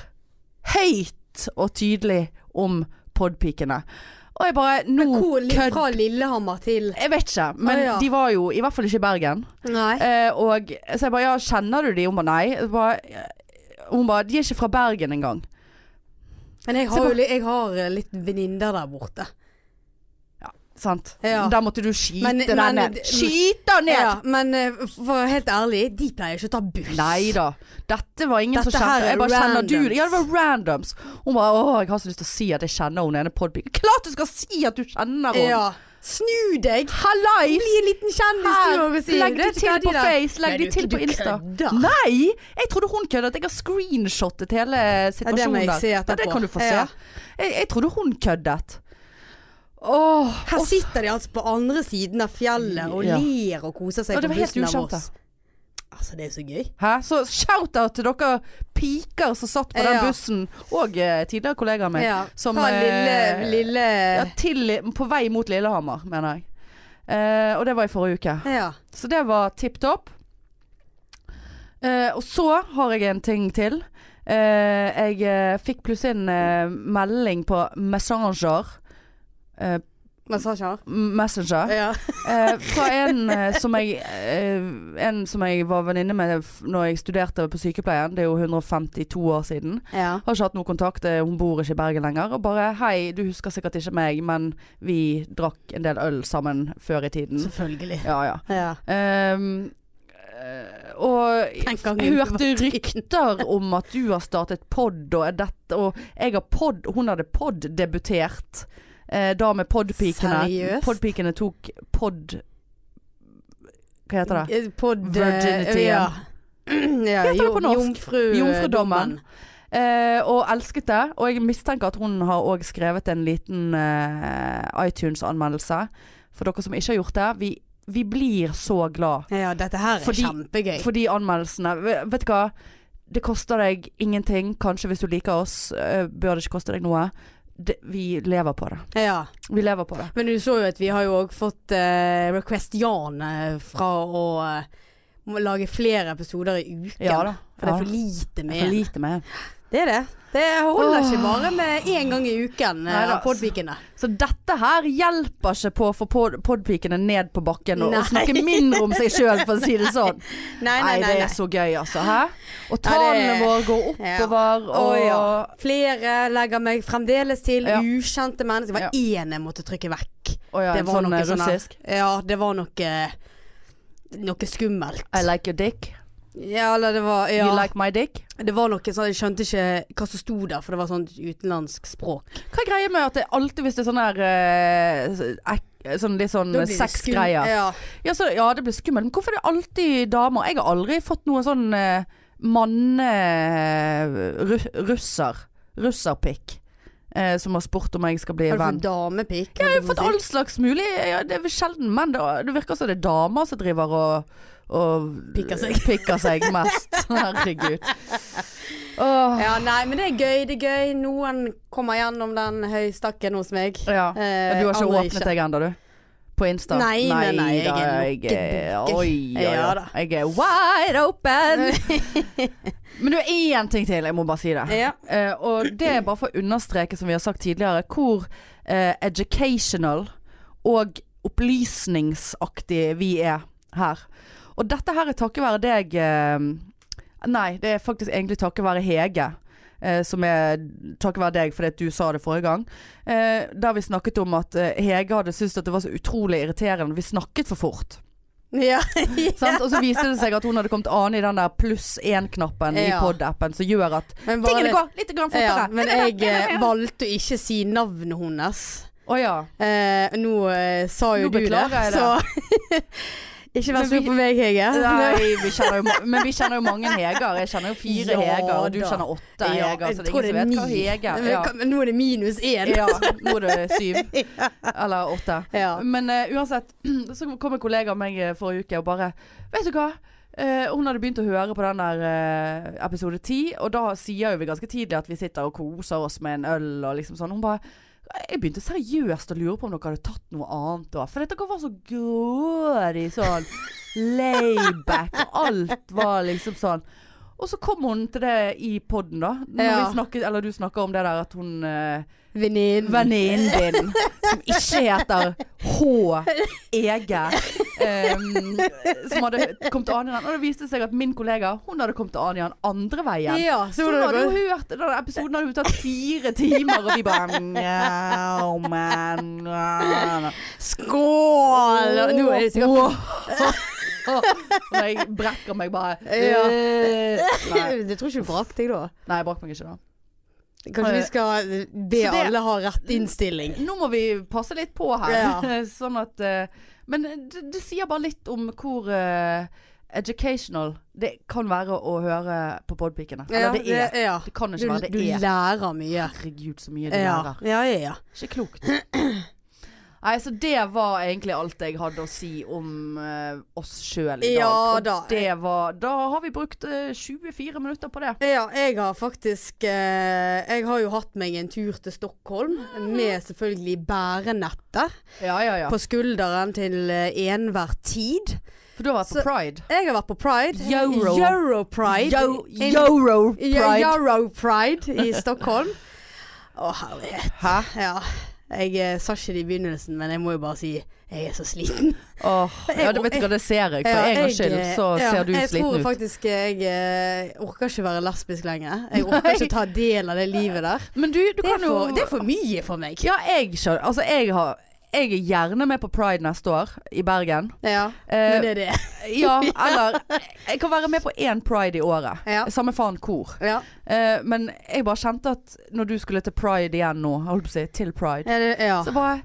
S2: høyt og tydelig om podpikene. Og jeg bare Nå
S1: Hvor, li-
S2: Oh, kødd...
S1: fra Lillehammer til
S2: Jeg vet ikke, men
S1: Å, ja.
S2: de var jo i hvert fall ikke i Bergen.
S1: Nei.
S2: Eh, og så jeg bare Ja, kjenner du de? Hun bare nei. Jeg bare, eh, hun bare De er ikke fra Bergen engang.
S1: Men jeg
S2: Se
S1: har
S2: på-
S1: jo li- jeg har eh, litt venninner der borte.
S2: Sant?
S1: Ja.
S2: Der måtte du skyte
S1: Men-
S2: den
S1: men-
S2: ned. Skyte den ned!
S1: Ja, men eh, for å være helt ærlig, de pleier ikke å ta buss.
S2: Nei da. Dette var ingen
S1: Dette
S2: som
S1: her
S2: kjente
S1: er
S2: Jeg bare kjenner du det? Ja, det
S1: randoms.
S2: var randoms. Hun bare Å, jeg har så lyst til å si at jeg kjenner hun ene podpiken. Klart du skal si at du kjenner henne!
S1: Ja. Snu deg!
S2: Hallais!
S1: Bli en liten kjendis, du
S2: Her,
S1: må vi si.
S2: legg
S1: Det
S2: de
S1: er
S2: til på
S1: ikke de der.
S2: Face,
S1: Nei,
S2: legg de
S1: du-
S2: til
S1: du
S2: på Insta.
S1: kødder.
S2: Nei! Jeg trodde hun køddet. Jeg har screenshotet hele situasjonen
S1: Ja, det må jeg
S2: der.
S1: se
S2: Ja, det
S1: etterpå.
S2: kan du få se.
S1: Ja.
S2: Jeg, jeg trodde hun køddet. Åh,
S1: Her
S2: og-
S1: sitter de altså på andre siden av fjellet og
S2: Ja.
S1: ler og koser seg
S2: Ja, det
S1: på
S2: var helt
S1: bussen av
S2: ukjente.
S1: oss. Altså, det er jo så gøy.
S2: Hæ? Så shout-out til dere piker som satt på den
S1: Ja.
S2: bussen, og eh, tidligere kollegaer med.
S1: Ja.
S2: Som,
S1: Fra
S2: eh,
S1: lille, lille
S2: Ja, til, på vei mot Lillehammer, mener jeg. Eh, og det var i forrige uke.
S1: Ja.
S2: Så det var tipp topp. Eh, og så har jeg en ting til. Eh, jeg eh, fikk plutselig en eh, melding på Messenger eh,
S1: Massasjer?
S2: Messenger.
S1: Ja.
S2: Eh, fra en eh, som jeg eh, En som jeg var venninne med f- Når jeg studerte på sykepleien Det er jo 152 år siden
S1: ja.
S2: Har ikke hatt noen kontakt, eh, hun bor ikke i Bergen lenger Og bare, hei, du husker sikkert ikke meg Men vi drakk en del øl sammen Før i tiden
S1: Mm. Selvfølgelig.
S2: Ja, ja
S1: Ja.
S2: Ehm, eh, Og
S1: Tenk gangen
S2: jeg
S1: du
S2: hørte rykter om at du har startet pod Og er dette Og jeg har pod Hun hadde pod debutert eh, Da med podpikene
S1: Seriøst?
S2: Podpikene tok pod Hva heter det?
S1: Eh, Pod
S2: Virginity,
S1: eh, Ja. ja.
S2: Heter det på
S1: jo-
S2: norsk?
S1: Jomfru,
S2: Jomfrudommen. Eh, og elsket det Og jeg mistenker at hun har også skrevet en liten eh, iTunes-anmeldelse For dere som ikke har gjort det Vi, vi blir så glad
S1: Ja, dette her er
S2: Fordi-
S1: kjempegøy.
S2: For de anmeldelsene v- Vet du hva? Det koster deg ingenting. Kanskje hvis du liker oss, eh, bør det ikke koste deg noe. Det, vi lever på det.
S1: ja.
S2: Vi lever på det.
S1: Men du så jo at vi har jo òg fått eh, request Jan eh, fra å eh, må lage flere episoder i uken.
S2: Ja da.
S1: For det
S2: Ja.
S1: er for lite med
S2: For
S1: en.
S2: lite med.
S1: Det er det. Det holder
S2: Åh.
S1: ikke bare med én gang i uken, eh,
S2: Neida.
S1: Podpikene.
S2: Så dette her hjelper ikke på å få pod podpikene ned på bakken og,
S1: Nei.
S2: og snakke mindre om seg sjøl, for å si det sånn.
S1: Nei, nei, nei.
S2: det
S1: nei.
S2: er så gøy, altså. Hæ? Og
S1: Ja,
S2: tallene
S1: det-
S2: våre går oppover,
S1: Å
S2: og
S1: ja. Flere legger meg fremdeles til
S2: Ja.
S1: ukjente mennesker. Det var én jeg måtte trykke vekk.
S2: Å ja,
S1: Det
S2: en
S1: var
S2: sånn
S1: noe
S2: eh,
S1: sånn
S2: russisk.
S1: Ja, det var noe Noe skummelt.
S2: I like your dick.
S1: Ja, eller det var ja.
S2: You like my dick.
S1: Det var noe sånn Jeg skjønte ikke hva som sto der, for det var sånn utenlandsk språk.
S2: Hva er greia med at det alltid hvis det er sånn der eh, ek- Sånn litt sånn
S1: Da blir det
S2: sexgreier.
S1: skum- Ja.
S2: Ja, så, ja, det blir skummelt. Men hvorfor er det alltid damer? Jeg har aldri fått noen sånn eh, manne... Ru, russer. Russerpikk. Eh, som har spurt om jeg skal bli
S1: Har du
S2: venn.
S1: fått damepikk?
S2: Jeg har fått all slags mulig ja, Det er vel sjelden menn. Det, det virker som det er damer som driver og, og
S1: Pikker seg.
S2: pikker seg mest. Herregud. Åh,
S1: Ja, nei, men det er gøy, det er gøy. Noen kommer gjennom den høystakken hos meg.
S2: ja.
S1: Eh,
S2: Men du har ikke
S1: andre
S2: åpnet deg ennå, du? På Insta?
S1: Nei, nei, nei, jeg
S2: da,
S1: er
S2: jeg
S1: lukket bunke.
S2: Oi, oi,
S1: Ja
S2: oi.
S1: da.
S2: Jeg er wide open! Men det er én ting til, jeg må bare si det.
S1: Ja.
S2: Eh, og det er bare for å understreke, som vi har sagt tidligere, hvor eh, educational og opplysningsaktige vi er her. Og dette her er takket være deg eh, Nei, det er faktisk egentlig takket være Hege. eh, som er takket være deg fordi at du sa det forrige gang. Eh, der vi snakket om at eh, Hege hadde syntes at det var så utrolig irriterende. Vi snakket for fort.
S1: Ja.
S2: Sant? Og så viste det seg at hun hadde kommet an i den der pluss én-knappen i
S1: Ja.
S2: pod-appen som gjør at
S1: Men, bare-
S2: tingene går litt grann fortere.
S1: ja, men jeg eh, valgte å ikke si navnet hennes.
S2: Å ja.
S1: Eh, nå eh, sa jo
S2: Nå
S1: du det,
S2: beklager jeg det.
S1: så Ikke vær
S2: Men
S1: sur
S2: vi-
S1: på meg, Hege.
S2: Nei, vi kjenner jo, ma- men vi kjenner jo mange Heger. Jeg kjenner jo fire
S1: Ja
S2: Heger, og du
S1: da.
S2: kjenner åtte
S1: Ja,
S2: Heger.
S1: jeg
S2: Så det
S1: tror
S2: er ingen som vet hva
S1: ni.
S2: Heger
S1: Men
S2: ja.
S1: kan- men Nå er det minus én.
S2: ja, nå er det syv. Eller åtte.
S1: Ja.
S2: Men eh, uansett, så kom en kollega av meg eh, forrige uke og bare Vet du hva? Eh, hun hadde begynt å høre på den der eh, episode 10, og da sier jo vi ganske tidlig at vi sitter og koser oss med en øl og liksom sånn. Hun bare jeg begynte seriøst å lure på om dere hadde tatt noe annet da. For dere var så grådig sånn layback. og Alt var liksom sånn. Og så kom hun til det i poden, da. Når
S1: Ja.
S2: vi snakket, eller du snakker om det der at hun eh,
S1: Venninnen.
S2: venninnen din som ikke heter H-Ege, em, som hadde kommet an i den. Og det viste seg at min kollega hun hadde kommet an i den andre veien.
S1: Ja, så
S2: Så hun
S1: var
S2: hadde
S1: det
S2: jo hørt den episoden hadde jo tatt fire timer, og vi bare mjau, men, mjau.
S1: Skål! Og Nå er det sikkert
S2: Åh. Når jeg brekker meg bare
S1: Ja.
S2: øh. Nei,
S1: Jeg tror ikke du brakk deg da.
S2: nei, jeg brakk meg ikke da.
S1: Kanskje vi skal be
S2: Så det-
S1: alle ha rett innstilling.
S2: Nå må vi passe litt på her.
S1: Ja.
S2: sånn at eh, Men det, det sier bare litt om hvor eh, educational det kan være å høre på podpikene. Eller det er.
S1: ja.
S2: Det kan
S1: Du,
S2: ikke være.
S1: du
S2: Det er.
S1: lærer mye.
S2: Herregud, så mye du
S1: Ja,
S2: lærer.
S1: ja, ja. ja.
S2: Ikke klokt. Nei, så det var egentlig alt jeg hadde å si om eh, oss sjøl i dag.
S1: Ja,
S2: Og
S1: da.
S2: Det var, da har vi brukt eh, 24 minutter på det.
S1: Ja, jeg har faktisk eh, Jeg har jo hatt meg en tur til Stockholm med selvfølgelig bærenettet
S2: Ja, ja, ja.
S1: på skulderen til eh, enhver tid.
S2: For du har vært
S1: Så-
S2: på pride.
S1: Jeg har vært på pride.
S2: Euro.
S1: Europride.
S2: Yo-
S1: In-
S2: Euro
S1: Ja, Euro Pride i Stockholm. Å, herlighet.
S2: Hæ?
S1: Ja. Jeg eh, sa ikke det i begynnelsen, men jeg må jo bare si jeg er så sliten.
S2: Åh, ja, det vet du hva, det ser jeg. For en gangs skyld så
S1: eh, ja,
S2: ser du
S1: jeg
S2: sliten
S1: Jeg tror
S2: ut.
S1: faktisk jeg eh, orker ikke være lesbisk lenger. Jeg orker ikke ta del av det livet der.
S2: Men du, du
S1: Det er,
S2: kan jo
S1: for, det er for mye for meg.
S2: Ja, jeg skjønner. Altså, jeg har jeg er gjerne med på Pride neste år, i Bergen.
S1: Ja,
S2: Eh,
S1: men det er det.
S2: ja, eller Jeg kan være med på én pride i året.
S1: Ja.
S2: Samme faen hvor.
S1: Ja.
S2: Eh, men jeg bare kjente at når du skulle til pride igjen nå, holdt på å si, til pride,
S1: Ja, det, ja.
S2: så bare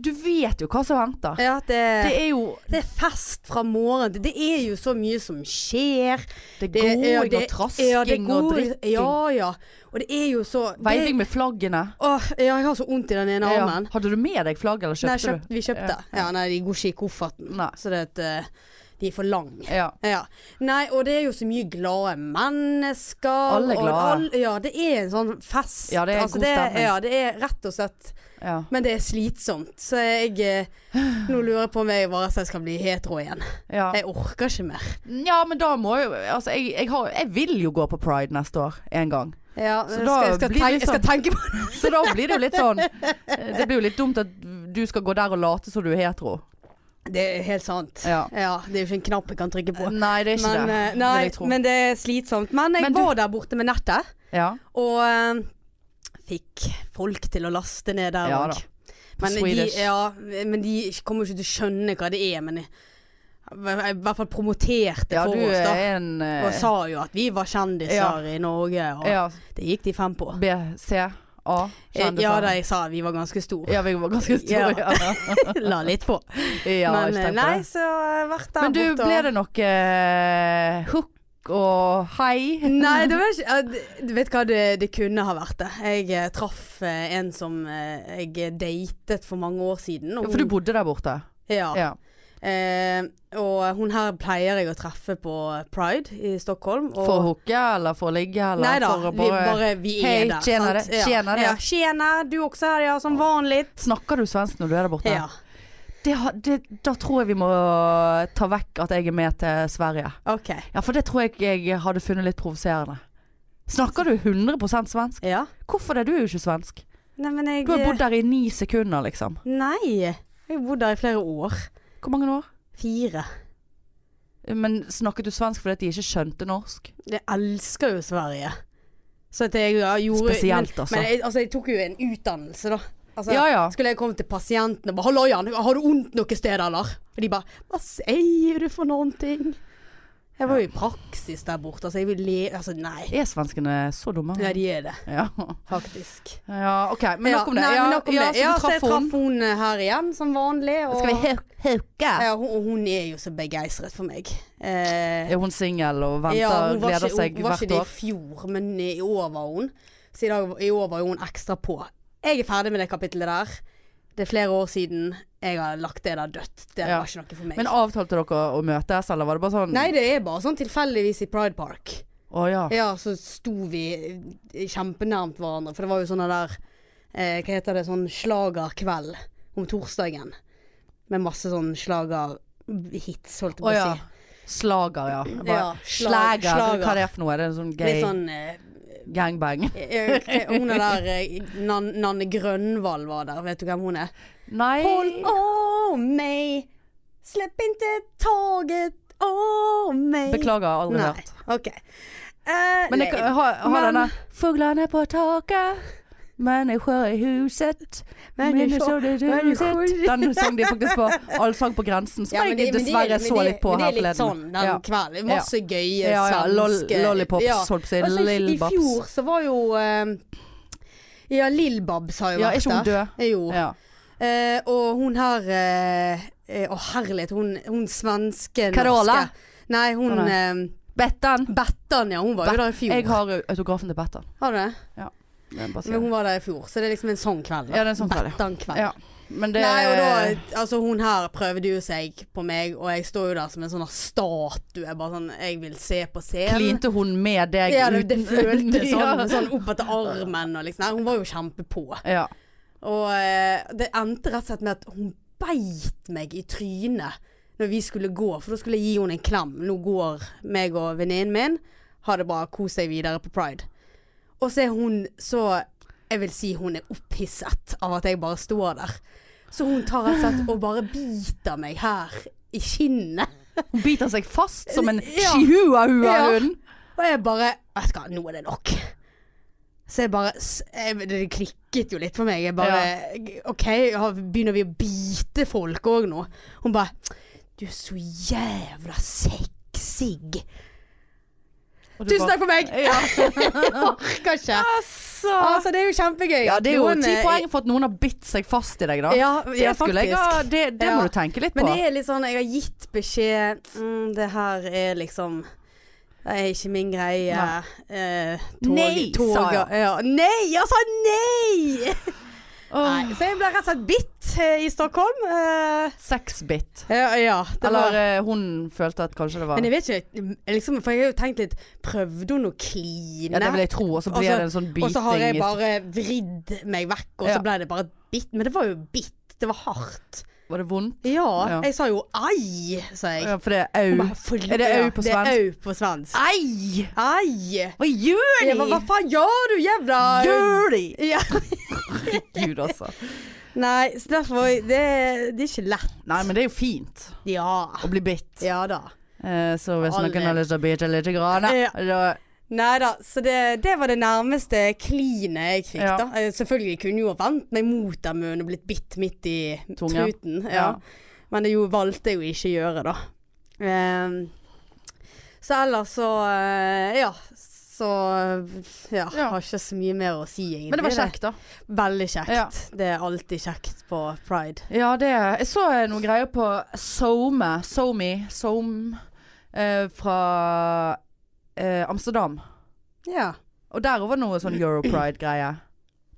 S2: Du vet jo hva som venter.
S1: ja det,
S2: Det
S1: det,
S2: er jo
S1: er fest fra morgen til Det er jo så mye som skjer.
S2: det er
S1: Det er-
S2: gåing
S1: ja,
S2: og
S1: det-
S2: trasking
S1: ja, det er
S2: og
S1: god-
S2: drikking.
S1: Ja ja. Og det er jo så det-
S2: Veiving med flaggene.
S1: Åh, ja, jeg har så vondt i den ene
S2: Ja.
S1: armen.
S2: Hadde du med deg flagg, eller kjøpte
S1: nei, kjøpt, vi kjøpte.
S2: Ja.
S1: Ja. nei, de går ikke i kofferten.
S2: Nei.
S1: Så det at eh, de er for lange.
S2: du? Ja.
S1: Ja. Nei, og det er jo så mye glade mennesker.
S2: Alle er
S1: og
S2: glade.
S1: ja, det er en sånn fest.
S2: Ja, det er god stemning.
S1: Ja, det er rett og slett
S2: ja.
S1: Men det er slitsomt. Så jeg eh, Nå lurer jeg på om jeg bare skal bli hetero igjen.
S2: ja.
S1: Jeg orker ikke mer.
S2: Eh, Ja, men da må jo Altså, jeg, jeg, har, jeg vil jo gå på Pride neste år, en gang.
S1: Ja,
S2: Så
S1: jeg
S2: da
S1: skal, jeg, skal
S2: blir
S1: tenke,
S2: det sånn.
S1: jeg skal tenke på
S2: Så da blir det jo litt sånn eh, Det blir jo litt dumt at du skal gå der og late som du er hetero.
S1: det. Det er helt sant.
S2: Ja.
S1: Ja, det er jo ikke en knapp jeg kan trykke på.
S2: Nei, det er ikke
S1: Men,
S2: det.
S1: eh,
S2: vil
S1: nei,
S2: jeg tro.
S1: men det er slitsomt. Men jeg
S2: Men du-
S1: var der borte med nettet.
S2: ja.
S1: Og eh, fikk folk til å laste ned der
S2: Ja da.
S1: òg. Men, de,
S2: Swedish.
S1: ja, men de kommer jo ikke til å skjønne hva det er. Men jeg, jeg i hvert fall promoterte
S2: ja,
S1: for
S2: du
S1: oss, da.
S2: er en eh,
S1: Og sa jo at vi var kjendiser i Norge, og
S2: ja,
S1: det gikk de fem på. Eh,
S2: BCA. kjendiser.
S1: Ja, de sa vi var ganske store.
S2: Ja, vi var ganske store. Ja, eh,
S1: La litt på.
S2: ja
S1: men eh,
S2: ikke tenk på
S1: nei,
S2: det.
S1: så jeg har vært der
S2: Men du,
S1: borte.
S2: ble
S1: og-
S2: det noe eh, hook og hei?
S1: Nei, det var ikke ja, det- Du vet hva det, det kunne ha vært, det. Jeg eh, traff eh, en som eh, jeg datet for mange år siden. og
S2: For du
S1: hun-
S2: bodde der borte?
S1: ja.
S2: Ja.
S1: Eh, og hun her pleier jeg å treffe på Pride i Stockholm. Og,
S2: For å hooke, eller for å ligge, eller
S1: Nei da,
S2: for å
S1: vi, bare vi er
S2: Hei,
S1: der.
S2: tjena
S1: sant?
S2: det, tjena det.
S1: Ja, tjena, du også her, ja, som vanlig.
S2: Snakker du svensk når du er der borte?
S1: Ja,
S2: Det, har- det, da tror jeg vi må ta vekk at jeg er med til Sverige.
S1: ok.
S2: Ja, for det tror jeg jeg hadde funnet litt provoserende. Snakker du 100 svensk?
S1: Ja.
S2: Hvorfor det? Du er jo ikke svensk.
S1: Nei, men jeg
S2: Du har bodd der i ni sekunder, liksom.
S1: Nei, jeg har bodd der i flere år.
S2: Hvor mange år?
S1: Fire.
S2: Men snakket du svensk fordi at de ikke skjønte norsk?
S1: Jeg elsker jo Sverige. Så at jeg ja, gjorde
S2: Spesielt, altså.
S1: Men, men jeg, altså, jeg tok jo en utdannelse, da. Altså,
S2: Ja, ja.
S1: Skulle jeg komme til pasienten og bare 'Hallo, Jan, har du vondt noe sted, eller?' Og de bare 'Hva sier du for noen ting?' Jeg var jo i praksis der borte, altså jeg vil le... Altså, nei.
S2: Er svenskene så dumme?
S1: Nei, de er det,
S2: Ja.
S1: faktisk.
S2: ja, OK. Men nok om det.
S1: Ja, nei,
S2: ja,
S1: men nok om
S2: ja,
S1: det. ja, så jeg
S2: så du traff
S1: traff hun eh, her igjen, som vanlig. Og,
S2: henne. hauke?
S1: ja, hun, og hun er jo så begeistret for meg. Eh,
S2: Er hun singel og venter,
S1: hun var
S2: gleder
S1: ikke,
S2: seg
S1: hun var
S2: hvert
S1: ikke det
S2: år?
S1: i fjor, men i år var hun. Så i, dag, i år var jo hun ekstra på. Jeg er ferdig med det kapittelet der. Det er flere år siden jeg har lagt det der dødt. Det
S2: Ja.
S1: var ikke noe for meg.
S2: Men avtalte dere å møtes, eller var det bare sånn
S1: Nei, det er bare sånn tilfeldigvis i Pride Park.
S2: Å ja.
S1: Ja, så sto vi eh, kjempenærmt hverandre, for det var jo sånne der eh, Hva heter det, sånn slagerkveld om torsdagen. Med masse sånn slagerhits, holdt jeg
S2: Å
S1: på å
S2: ja.
S1: si.
S2: Slager, ja. Jeg Bare,
S1: Ja, slag-
S2: slager, hva
S1: slager.
S2: er det for noe? Er det en sånn gay
S1: Litt sånn eh,
S2: gangbang?
S1: eh, eh, Hun er der eh, Nan, Nanne Grønvald var der, vet du hvem hun er?
S2: Nei.
S1: Hold om meg, slipp ikke taget om meg.
S2: Beklager, aldri
S1: Nei.
S2: hørt.
S1: OK. Eh,
S2: Men jeg
S1: nei,
S2: kan- har, har
S1: Men-
S2: denne Fuglene på taket, mennesker i huset, mennesker i
S1: mennesker
S2: huset
S1: i-
S2: Den sang de faktisk på Allsang på grensen, som
S1: Ja, men
S2: jeg
S1: det- men det-
S2: dessverre
S1: men
S2: så
S1: det-
S2: litt på
S1: men
S2: her
S1: Det er litt sånn
S2: forleden.
S1: den
S2: Ja.
S1: kvelden. Masse gøye
S2: Ja, ja, lol,
S1: svenske
S2: lollipops,
S1: Ja.
S2: holdt på å si.
S1: Altså, i- I
S2: Lillbabs.
S1: fjor så var jo eh, Ja, Lill Babs har jo
S2: Ja, er
S1: vært
S2: ikke hun
S1: der.
S2: død?
S1: Eh, Jo.
S2: Ja.
S1: Eh, og hun her eh, eh, Å herlighet, hun, hun svenske
S2: Carola?
S1: norske. Nei, hun
S2: Å,
S1: eh,
S2: Bettan.
S1: Bettan, ja. Hun var
S2: Bet-
S1: jo der i fjor.
S2: Jeg har autografen til Bettan.
S1: Har du det?
S2: Det er bare å si
S1: Men
S2: det.
S1: hun var der i fjor, så det er liksom en sånn kveld. da.
S2: Ja, det er en sånn kveld, ja.
S1: Bettan-kveld.
S2: Ja. Men det
S1: Nei, og da, altså hun her prøvde jo seg på meg, og jeg står jo der som en sånn statue. Bare sånn, jeg vil se på scenen.
S2: klinte hun med deg
S1: Ja, det, det
S2: uten-
S1: føltes sånn,
S2: Ja.
S1: sånn opp etter armen og liksom. Nei, hun var jo kjempepå.
S2: Ja.
S1: Og eh, det endte rett og slett med at hun beit meg i trynet når vi skulle gå, for da skulle jeg gi henne en klem. Nå går meg og venninnen min, ha det bra, kos deg videre på pride. Og så er hun så Jeg vil si hun er opphisset av at jeg bare står der. Så hun tar rett og slett og bare biter meg her i kinnet.
S2: Hun biter seg fast som en
S1: Ja.
S2: chihuahua-hund.
S1: Og jeg bare Vet du hva, nå er det nok. Så jeg bare s- jeg, Det klikket jo litt for meg. Jeg bare OK, har- begynner vi å bite folk òg nå? Hun bare Du er så jævla sexig.
S2: Og du
S1: Tusen
S2: bare-
S1: takk for meg! Jeg orker ikke.
S2: Altså,
S1: Altså, det er jo kjempegøy.
S2: ja, det er jo
S1: Noen,
S2: ti
S1: eh,
S2: poeng for at noen har bitt seg fast i deg, da.
S1: Ja, ja
S2: det skulle jeg,
S1: faktisk.
S2: ja, det, det
S1: Ja.
S2: må du tenke litt på.
S1: Men det er litt sånn, jeg har gitt beskjed mm, Det her er liksom Det er ikke min greie.
S2: Nei.
S1: Eh,
S2: Nei, sa jeg.
S1: Ja, nei! Jeg sa nei!
S2: Åh,
S1: nei! Så jeg ble rett og slett bitt eh, i Stockholm. Eh,
S2: Sexbit.
S1: ja, ja. Det
S2: Eller
S1: var, eh,
S2: eh, hun følte at kanskje det var
S1: men jeg vet ikke, liksom, for jeg har jo tenkt litt Prøvde hun å kline?
S2: Ja, det vil jeg tro. Og så blir
S1: Altså-
S2: det en sånn
S1: og så har
S2: biting
S1: jeg
S2: i
S1: bare vridd meg vekk, og
S2: Ja.
S1: så ble det bare et bitt. Men det var jo bitt. Det var hardt.
S2: Var det vondt?
S1: Ja.
S2: Ja.
S1: Jeg sa jo ai, sa jeg.
S2: Ja, for det er
S1: Hun
S2: au.
S1: bare, "Forlåt."
S2: Er det au på
S1: Det
S2: svensk?
S1: er au på svensk.
S2: Ei!
S1: Ai!
S2: Hva gjør
S1: Jeg
S2: de?
S1: bare, hva faen gjør du, jævla
S2: gjør de?
S1: Ja.
S2: Gud, altså.
S1: Nei, så derfor det, det er ikke lett.
S2: Nei, men det er jo fint
S1: Ja.
S2: å bli bitt.
S1: Ja da.
S2: Eh, så hvis
S1: Aldri.
S2: noen har lyst til å bite litt, grann,
S1: Ja.
S2: da
S1: Nei da, så det, det var det nærmeste klinet jeg fikk,
S2: Ja.
S1: da. Eh, Selvfølgelig kunne jeg jo ha vendt meg mot den munnen og blitt bitt midt i
S2: Tunga.
S1: truten. Ja. Men det jo, valgte jeg jo ikke å gjøre, da. Ehm, så ellers så eh, Ja. Så ja,
S2: Ja.
S1: har ikke så mye mer å si, egentlig.
S2: Men det var kjekt, da.
S1: Veldig kjekt.
S2: Ja.
S1: Det er alltid kjekt på pride.
S2: Ja, det Jeg så eh, noen greier på SoMe. SoMe. SoMe eh, fra eh, Amsterdam.
S1: Ja.
S2: Og der var noe sånn Europride-greie.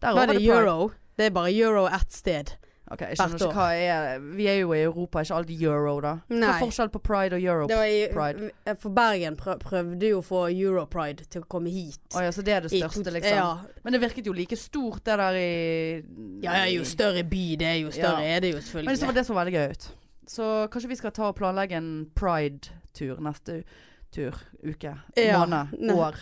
S2: Der
S1: Var
S2: var
S1: det
S2: pride.
S1: euro? Det er bare euro ett sted.
S2: Ok, jeg
S1: Hvert
S2: skjønner ikke hva er Vi er jo i Europa, ikke alltid euro, da. Hva
S1: Nei.
S2: er forskjell på pride og euro?
S1: Det var i, eh,
S2: Pride.
S1: For Bergen prø- prøvde jo å få europride til å komme hit.
S2: Å ja, så det er det
S1: I
S2: største,
S1: to-
S2: liksom.
S1: Ja.
S2: Men det virket jo like stort det der i
S1: ja, ja, jo større by det er, jo større er det jo
S2: Men det var
S1: selvfølgelig.
S2: det som var veldig gøy ut. Så kanskje vi skal ta og planlegge en pride-tur neste u- tur, uke,
S1: Ja,
S2: måned,
S1: ne-
S2: år.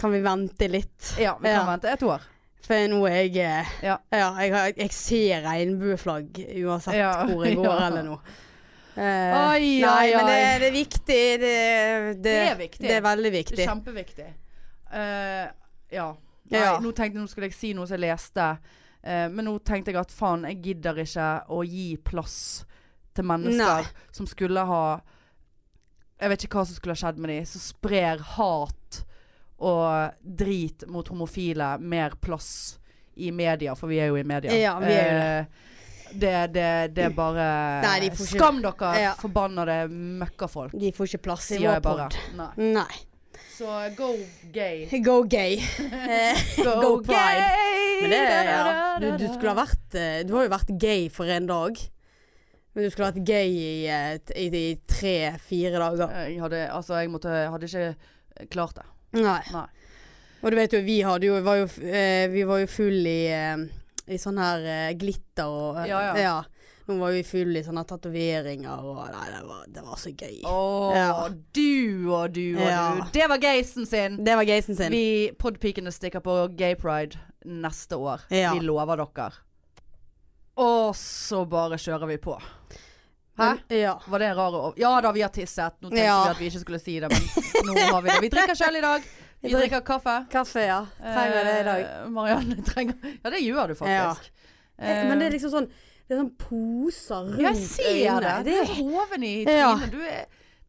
S1: Kan vi vente litt?
S2: Ja, vi kan
S1: Ja.
S2: vente et år.
S1: For nå er jeg eh,
S2: Ja.
S1: ja jeg, har- jeg ser regnbueflagg uansett
S2: Ja,
S1: hvor jeg går
S2: ja.
S1: eller noe. Eh,
S2: Ai,
S1: nei,
S2: ai,
S1: men det,
S2: ai.
S1: det er viktig. Det, det,
S2: Det er viktig.
S1: Det er veldig
S2: Det
S1: viktig.
S2: er kjempeviktig. Eh, ja. Nei,
S1: Ja.
S2: Nå tenkte jeg nå skulle jeg si noe som jeg leste, eh, men nå tenkte jeg at faen, jeg gidder ikke å gi plass til mennesker
S1: Nei.
S2: som skulle ha Jeg vet ikke hva som skulle ha skjedd med de, som sprer hat og drit mot homofile mer plass i media, for vi er jo i media.
S1: Ja, vi er jo det.
S2: Eh, det, det, det er bare
S1: Nei, de får ikke-
S2: Skam dere,
S1: Ja.
S2: forbannede møkkafolk,
S1: De får ikke plass i
S2: sier
S1: vår
S2: jeg bare.
S1: pod.
S2: Nei.
S1: Nei.
S2: Så go gay.
S1: Go gay. Eh,
S2: Go,
S1: Go
S2: pride.
S1: Men det, ja. du, du skulle ha vært eh, Du har jo vært gay for en dag. Men du skulle ha vært gay i, eh, t- i, i tre-fire dager.
S2: Jeg hadde, altså, jeg måtte, jeg hadde ikke klart det.
S1: Nei.
S2: Nei.
S1: Og du vet jo, vi hadde jo var jo, f- eh, Vi var jo full i eh, I sånn her eh, glitter og eh,
S2: Ja, ja.
S1: Nå var vi full i sånne tatoveringer og Nei, det var, det var så gøy.
S2: Å,
S1: Ja.
S2: du og du og
S1: Ja.
S2: du. Det var gaysen sin.
S1: Det var gaysen sin.
S2: Vi podpikene stikker på gay pride neste år.
S1: Ja.
S2: Vi lover dere. Og så bare kjører vi på. Hæ?
S1: Men- Ja.
S2: Var det en rar å- Ja da, vi har tisset. Nå tenkte
S1: Ja.
S2: vi at vi ikke skulle si det, men nå har vi det. Vi drikker sjøl i dag. Vi drikker kaffe.
S1: Kaffe, ja. Trenger det i dag.
S2: Eh, Marianne trenger Ja, det gjør du faktisk.
S1: Eh, Men det er liksom sånn Det er sånn poser rundt
S2: Eh, Jeg ser det.
S1: øynene.
S2: Du er hoven i
S1: Ja.
S2: trynet. Du er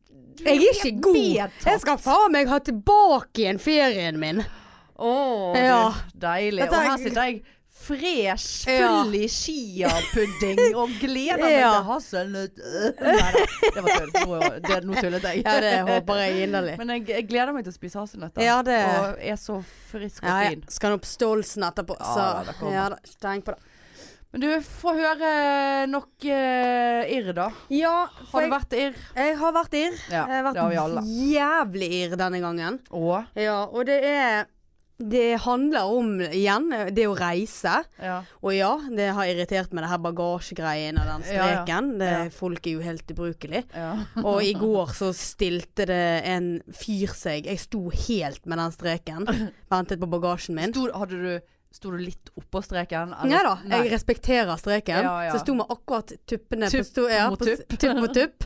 S2: du
S1: Jeg er ikke
S2: helt
S1: god.
S2: medtatt.
S1: Jeg skal faen meg ha tilbake igjen ferien min.
S2: Å, du,
S1: Ja.
S2: deilig.
S1: Dette er-
S2: Og her sitter jeg fresh,
S1: Ja.
S2: full i chiapudding og gleder meg
S1: Ja.
S2: til hasselnøtt. Neida, Det var tull. Nå, det, nå tullet jeg.
S1: Ja, det håper jeg inderlig.
S2: Men jeg, jeg gleder meg til å spise hasselnøtter.
S1: Ja, det-
S2: Og er så frisk og
S1: Ja, ja.
S2: fin.
S1: Skal han opp Stolsen etterpå,
S2: Ja,
S1: så
S2: det kommer.
S1: ja da. Ikke tenk på det.
S2: Men du, få høre nok eh, irr, da.
S1: Ja,
S2: Har
S1: jeg,
S2: du vært irr?
S1: har vært irr.
S2: Ja,
S1: jeg har vært
S2: det har vi alle.
S1: jævlig irr denne gangen.
S2: Å?
S1: Ja, og det er Det handler om, igjen, det å reise.
S2: Ja.
S1: Og ja, det har irritert meg, det her bagasjegreien og den
S2: Ja, ja.
S1: streken. Det,
S2: Ja.
S1: Folk er jo helt ubrukelig.
S2: ja.
S1: Og i går så stilte det en fyr seg. Jeg sto helt med den streken. Ventet på bagasjen min.
S2: Sto, hadde du Sto du litt oppå streken?
S1: Nei da, jeg respekterer streken.
S2: Ja, ja.
S1: Så sto vi akkurat tuppene
S2: Tupp
S1: på, sto, ja,
S2: mot
S1: på s-
S2: tupp.
S1: tupp mot tupp.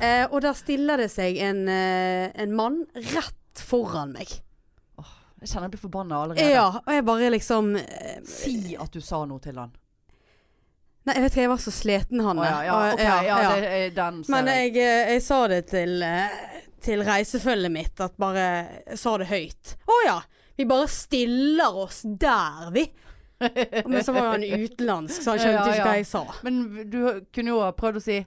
S1: Eh, og der stiller det seg en, eh, en mann rett foran meg.
S2: Jeg kjenner jeg blir forbanna allerede.
S1: Ja, og jeg bare liksom eh,
S2: Si at du sa noe til han.
S1: Nei, jeg vet ikke, jeg var så sleten han
S2: Å,
S1: der.
S2: ja, ja,
S1: Og-
S2: ok, ja, Det, er den ser
S1: Men
S2: jeg.
S1: jeg, eh, jeg sa det til, eh, til reisefølget mitt, at bare Jeg sa det høyt. Å ja! Vi bare stiller oss der, vi. Men så var jo han utenlandsk, så han
S2: Ja,
S1: skjønte ikke
S2: ja.
S1: hva jeg sa.
S2: Men du kunne jo ha prøvd å si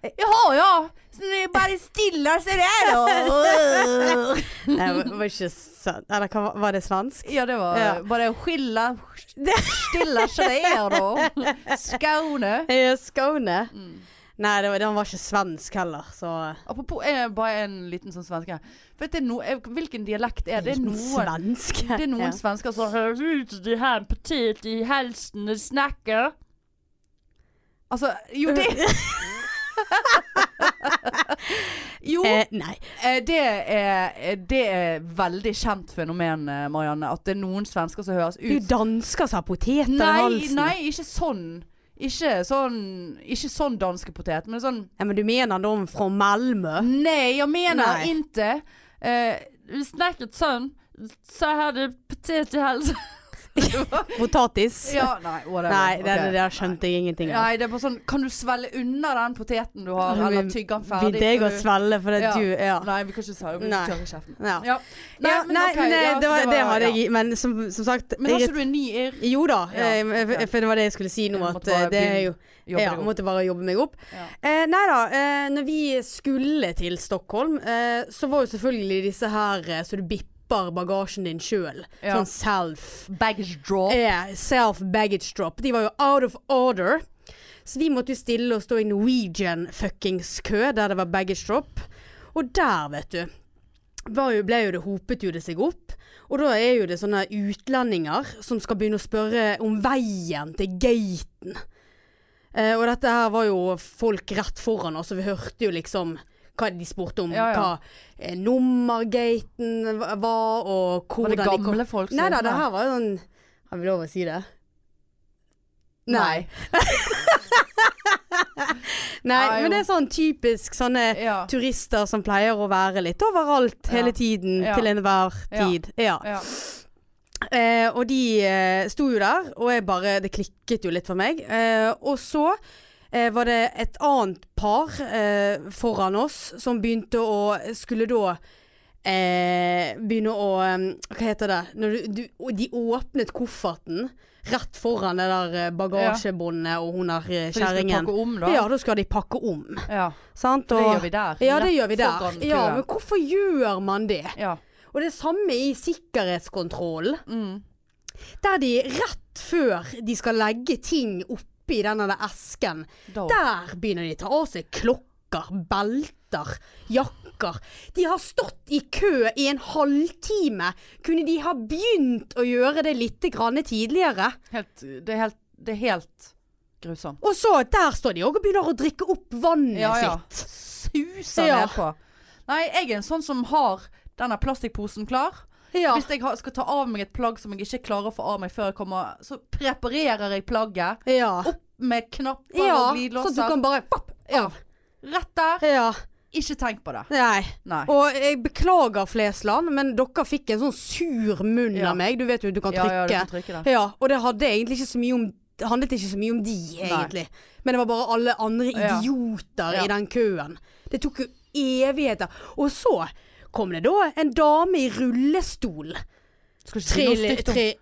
S2: Jaha, ja! Så når jeg bare stiller seg der, og
S1: Nei, det Eh, var ikke sånn Eller hva var- var det svensk?
S2: Ja, det var
S1: Ja.
S2: bare å skille Stiller seg der, da. Skåne.
S1: Eh, Skåne?
S2: Mm.
S1: Nei, det var, han var ikke svensk heller, så
S2: Apropos eh, bare en liten sånn svenske. Vet du, no, eh, hvilken dialekt er det? Det er noen,
S1: Svensk?
S2: det er noen
S1: ja.
S2: svensker som høres ut som de har en potet i halsen og snakker. Altså Jo,
S1: Eh,
S2: det Jo,
S1: Eh, nei.
S2: eh, det er, eh, det er veldig kjent fenomen, eh, Marianne. At det er noen svensker som høres
S1: Du
S2: ut
S1: dansker som har poteter i
S2: Nei,
S1: halsen.
S2: nei, ikke sånn. Ikke sånn, ikke sånn danskepotet, men sånn
S1: Ja, men du mener de fra Malmö?
S2: Nej, jag menar
S1: Nej.
S2: inte. Eh, vi snackat sån, så hade potet i halsen.
S1: Potatis?
S2: ja, nej, whatever.
S1: Nei, det,
S2: Okej.
S1: det der skjønte jeg ingenting av.
S2: Nej, det är bara sån, kan du svälja undan den poteten du har
S1: Ja,
S2: eller
S1: men
S2: tygga den färdigt?
S1: Begynte jeg
S2: för
S1: å
S2: du-
S1: svelle fordi
S2: Ja.
S1: du Ja.
S2: Nej, vi kanske sa det, vi
S1: Nej.
S2: tör i käften.
S1: ja.
S2: Ja.
S1: Nei, ja,
S2: men
S1: nei,
S2: okej,
S1: men eh,
S2: ja,
S1: det,
S2: så
S1: var, det hadde
S2: ja.
S1: jeg i Men som, som sagt
S2: Men har
S1: irrit-
S2: inte du en ny er-
S1: Jo da,
S2: Ja,
S1: eh, f-
S2: ok.
S1: for det var det jeg skulle si nå.
S2: Ja, måtte
S1: At
S2: bare
S1: eh, det er jo
S2: jobbar
S1: Ja,
S2: ihop?
S1: måtte bare jobbe meg opp.
S2: Ja.
S1: Eh, nei da, eh, når vi skulle til Stockholm, eh, så var jo selvfølgelig disse her eh, så du bipper bagasjen din sjøl.
S2: Ja.
S1: Sånn self.
S2: Baggage drop.
S1: Eh, self baggage drop. De var jo out of order. Så vi måtte jo stille og stå i Norwegian fuckings kø der det var baggage drop. Og der, vet du, var jo, ble jo det hopet jo det seg opp. Og da er jo det sånne utlendinger som skal begynne å spørre om veien til gaten. Eh, og dette her var jo folk rett foran oss, og vi hørte jo liksom hva de spurte om.
S2: Ja, ja.
S1: Hva eh, nummergaten va- var, og
S2: Var
S1: hvordan
S2: det
S1: de kom
S2: gamle folk som
S1: Nei da, det her var jo sånn Har vi lov å si det? Nei. Nei,
S2: Ja, jo.
S1: men det er sånn typisk sånne
S2: Ja.
S1: turister som pleier å være litt overalt hele
S2: Ja.
S1: tiden,
S2: Ja.
S1: til enhver
S2: Ja.
S1: tid. Ja.
S2: Ja.
S1: Eh, og de eh, sto jo der, og jeg bare Det klikket jo litt for meg. Eh, og så eh, var det et annet par eh, foran oss som begynte å Skulle da eh, begynne å eh, Hva heter det Når du, du, og De åpnet kofferten rett foran det der eh, bagasjebåndet og hun der
S2: Så de
S1: eh,
S2: skulle
S1: kjerringen.
S2: pakke om da.
S1: Ja, da skal de pakke om.
S2: Ja.
S1: Sant?
S2: Det
S1: Og,
S2: gjør vi der.
S1: ja, det
S2: Rett
S1: gjør vi der.
S2: foran
S1: Ja,
S2: køen.
S1: men hvorfor gjør man det?
S2: Ja.
S1: Og det samme i sikkerhetskontrollen.
S2: Mm.
S1: Der de rett før de skal legge ting oppi denne der esken,
S2: Da.
S1: der begynner de å ta av seg klokker, belter, jakker. De har stått i kø i en halvtime. Kunne de ha begynt å gjøre det litt grann tidligere?
S2: Helt, det, er helt, det er helt grusomt.
S1: Og så, der står de òg og begynner å drikke opp vannet
S2: ja, ja.
S1: sitt.
S2: Suser
S1: Ja.
S2: nedpå. Nei, jeg er en sånn som har denne plastikkposen klar.
S1: Ja.
S2: Hvis jeg har, skal ta av meg et plagg som jeg ikke klarer å få av meg før jeg kommer, så preparerer jeg plagget
S1: ja.
S2: opp med knapper
S1: ja.
S2: og
S1: Sånn at du
S2: glidelåser.
S1: kan bare pop, av.
S2: Rett der.
S1: Ja.
S2: Ikke tenk på det.
S1: Nei.
S2: Nei.
S1: Og jeg beklager Flesland, men dere fikk en sånn sur munn
S2: Ja.
S1: av meg. Du vet jo du kan
S2: Ja,
S1: trykke.
S2: ja, du kan trykke det.
S1: Ja, og det hadde egentlig ikke så mye om det handlet ikke så mye om de, egentlig. Men det var bare alle andre
S2: Ja.
S1: idioter
S2: Ja.
S1: i den køen. Det tok jo evigheter. Og så kom det da en dame i rullestol.
S2: Skal ikke si noe
S1: Trill,
S2: stygt om-
S1: tri,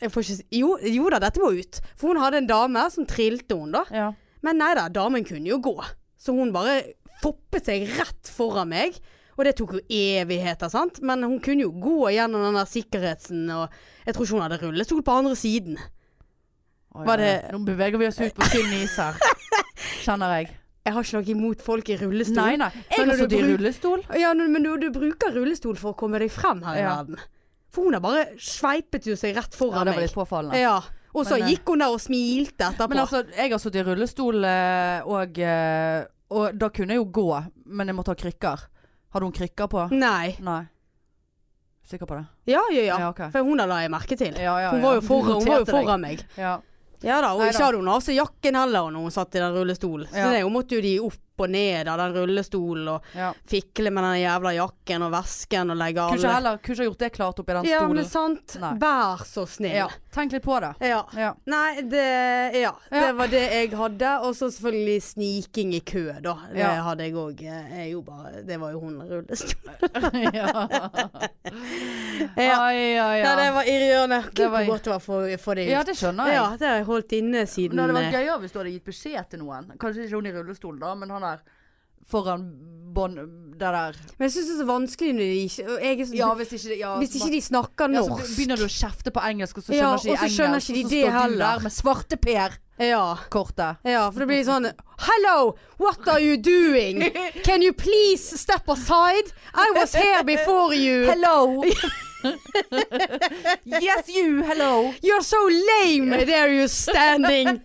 S1: jeg får ikke, si- jo, jo da, dette må ut. For hun hadde en dame som trilte hun, da.
S2: Ja.
S1: Men nei da, damen kunne jo gå. Så hun bare foppet seg rett foran meg. Og det tok jo evigheter, sant. Men hun kunne jo gå gjennom den der sikkerhetsen, og jeg tror ikke hun hadde rullestol på andre siden.
S2: Å, ja.
S1: Var det-
S2: Nå beveger vi oss ut på tynn is her. Kjenner jeg.
S1: Jeg har ikke noe imot folk i rullestol.
S2: Nei, nei. Jeg
S1: Men
S2: har
S1: når du
S2: sittet i
S1: bruk-
S2: rullestol.
S1: Ja, men men du, du bruker rullestol for å komme deg frem her i
S2: Ja.
S1: verden. For hun har bare sveipet jo seg rett
S2: Ja,
S1: foran
S2: det var
S1: meg.
S2: litt påfallende.
S1: Ja. Og så
S2: Men, eh,
S1: gikk hun der og smilte etterpå.
S2: Men altså, jeg har sittet i rullestol, eh, og, eh, og
S1: Mm.
S2: da kunne jeg jo gå, men jeg måtte ha krykker. Hadde hun krykker på?
S1: Nei.
S2: Nei. Sikker på det?
S1: Ja, ja, ja.
S2: Ja, ok.
S1: For hun har la jeg merke til.
S2: Ja, ja,
S1: Hun var
S2: ja.
S1: jo foran, hun var jo
S2: Noterte deg.
S1: foran meg.
S2: Ja.
S1: Ja da, og
S2: Nei
S1: ikke
S2: da.
S1: hadde hun av seg jakken heller når hun satt i den rullestolen. Så
S2: Ja.
S1: det, hun måtte jo de opp og ned av den rullestolen og
S2: ja.
S1: fikle med den jævla jakken og vesken og legge
S2: Kunne ikke
S1: alle
S2: heller kunne ikke gjort det klart oppi den
S1: Ja, men
S2: stolen.
S1: sant.
S2: Nei.
S1: Vær så snill.
S2: Ja, tenk litt på det.
S1: Ja.
S2: Ja.
S1: Nei, det Ja.
S2: Ja.
S1: Det var det jeg hadde. Og så selvfølgelig sniking i kø, da. Det
S2: Ja.
S1: hadde jeg òg. Jeg jo bare Det var jo hun i rullestol.
S2: ja.
S1: Ja.
S2: Ai, ai,
S1: Ja, det
S2: ja.
S1: var irriterende. Gud,
S2: var-
S1: hvor godt det var for, for deg.
S2: ja, det skjønner jeg.
S1: Ja, det har jeg holdt inne siden
S2: Men det hadde vært
S1: eh,
S2: gøyere hvis du hadde gitt beskjed til noen. Kanskje ikke hun i rullestol, da, men han der foran bånd Det der
S1: Men jeg syns det er så vanskelig når de ikke og jeg er så,
S2: Ja, hvis ikke det- ja,
S1: Hvis ikke de snakker
S2: ja, så
S1: norsk.
S2: begynner du å kjefte på engelsk, og så
S1: Ja,
S2: skjønner ikke de
S1: og så
S2: engelsk.
S1: skjønner ikke
S2: og
S1: de
S2: så
S1: det
S2: står du
S1: heller.
S2: der med svarteper-kortet.
S1: ja. ja, for det blir sånn Hello, what are you doing? Can you please step aside? I was here before you.
S2: Hello! yes, you! Hello!
S1: You're so lame there you're standing.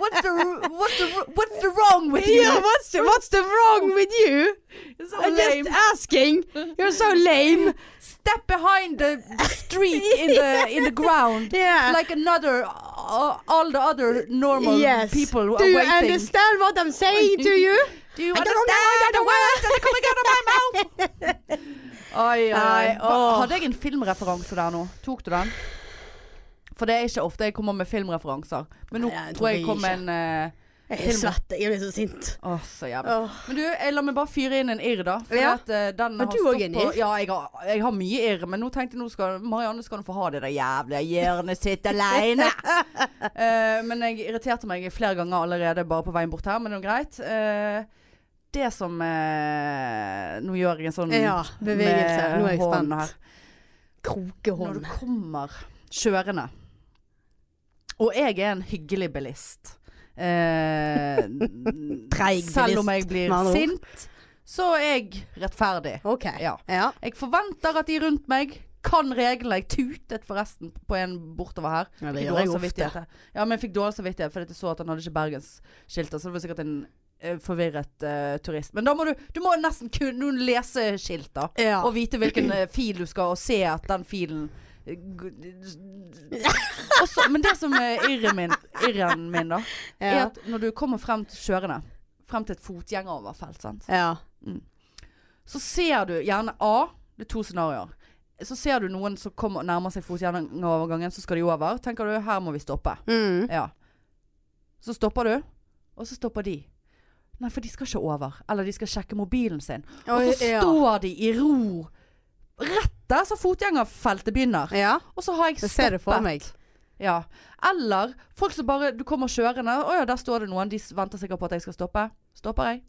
S2: What's the, what's the, what's the wrong with you?
S1: Yeah, what's, what's the wrong with you?
S2: You're so
S1: I'm
S2: lame.
S1: just asking. You're so lame.
S2: Step behind the, the street in the, in the ground.
S1: Yeah.
S2: Like another, uh, all the other normal
S1: yes.
S2: people are
S1: Do you
S2: waiting.
S1: understand what I'm saying to you?
S2: Do you
S1: I don't
S2: understand words that
S1: know the
S2: are coming out of my mouth? Oi, oi.
S1: Nei,
S2: Hva-
S1: åh.
S2: Hadde jeg en filmreferanse der nå? Tok du den? For det er ikke ofte jeg kommer med filmreferanser. Men nå
S1: Nei, det
S2: tror jeg
S1: tror jeg
S2: kom
S1: ikke.
S2: en eh,
S1: Jeg er svett. Jeg blir så sint.
S2: Åh, så jævlig.
S1: Åh.
S2: Men du, jeg la meg bare fyre inn en irr, da. For
S1: Ja.
S2: at, eh, den
S1: Har du
S2: stått
S1: også en
S2: på-
S1: irr?
S2: Ja, jeg har, jeg har mye irr. Men nå tenkte jeg nå skal Marianne skal nå få ha det der jævla hjørnet sitt aleine. Eh, men jeg irriterte meg flere ganger allerede bare på veien bort her, men det er greit. Eh, det som eh, Nå gjør jeg en sånn
S1: Ja, bevegelse.
S2: med
S1: Nå er jeg
S2: hånden her.
S1: spent.
S2: Når du
S1: Krokehånd.
S2: kommer kjørende Og jeg er en hyggelig bilist. Eh,
S1: Treig
S2: Selv om jeg
S1: bilist,
S2: blir
S1: med andre ord.
S2: sint, så er jeg rettferdig.
S1: OK.
S2: Ja.
S1: Ja.
S2: Jeg forventer at de rundt meg kan reglene. Jeg tutet forresten på en bortover her.
S1: Ja,
S2: Fikk
S1: det gjør
S2: dårlig
S1: jeg ofte.
S2: samvittighet. Ja, men jeg fikk dårlig samvittighet fordi jeg så at han hadde ikke bergensskiltet. Så det var sikkert en eh, forvirret eh, turist. Men da må du, du må nesten kunne lese skilt, da.
S1: Ja.
S2: Og vite hvilken eh, fil du skal, og se at den filen eh, g- og så- Men det som er irren min, irren min da, er
S1: Ja.
S2: at når du kommer frem til kjørende, frem til et fotgjengeroverfelt, sant?
S1: ja.
S2: Så ser du gjerne A Det er to scenarioer Så ser du noen som kommer og nærmer seg fotgjengerovergangen Så skal de over Tenker du, her må vi stoppe
S1: Mm.
S2: Ja Så stopper du Og så stopper de Nei, for de skal ikke over Eller de skal sjekke mobilen sin Og så
S1: ja.
S2: står de i ro Rett der så fotgjengerfeltet begynner
S1: Ja,
S2: Og så har jeg
S1: jeg
S2: stoppet
S1: ser det for meg.
S2: ja. Eller folk som bare Du kommer kjørende. Å ja, der står det noen. De s- venter sikkert på at jeg skal stoppe. Stopper jeg?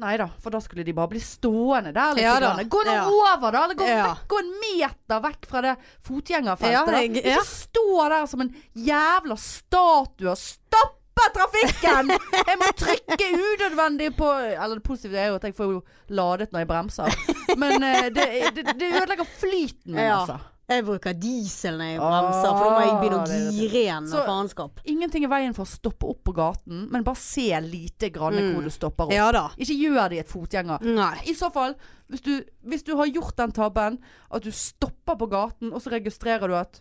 S2: Nei da, for da skulle de bare bli stående der litt.
S1: Ja da,
S2: grann. Gå nå
S1: ja.
S2: over, da! Eller gå,
S1: Ja.
S2: vekk, gå en meter vekk fra det
S1: Ja,
S2: fotgjengerfeltet. da.
S1: jeg- ja.
S2: Ikke stå der som en jævla statue og stoppe trafikken! Jeg må trykke unødvendig på Eller det positive er jo at jeg får jo ladet når jeg bremser. Men eh, det, det, det ødelegger flyten min,
S1: Ja.
S2: altså.
S1: Jeg bruker diesel når jeg bremser, for da må jeg begynne å
S2: Ah, det er
S1: gire igjen
S2: Så-
S1: av faenskap.
S2: Ingenting i veien for å stoppe opp på gaten, men bare se lite grann hvor du stopper opp.
S1: Mm. Ja Mm. da.
S2: Ikke gjør det i et fotgjenger.
S1: Nei.
S2: I så fall, hvis du, hvis du har gjort den tabben, at du stopper på gaten, og så registrerer du at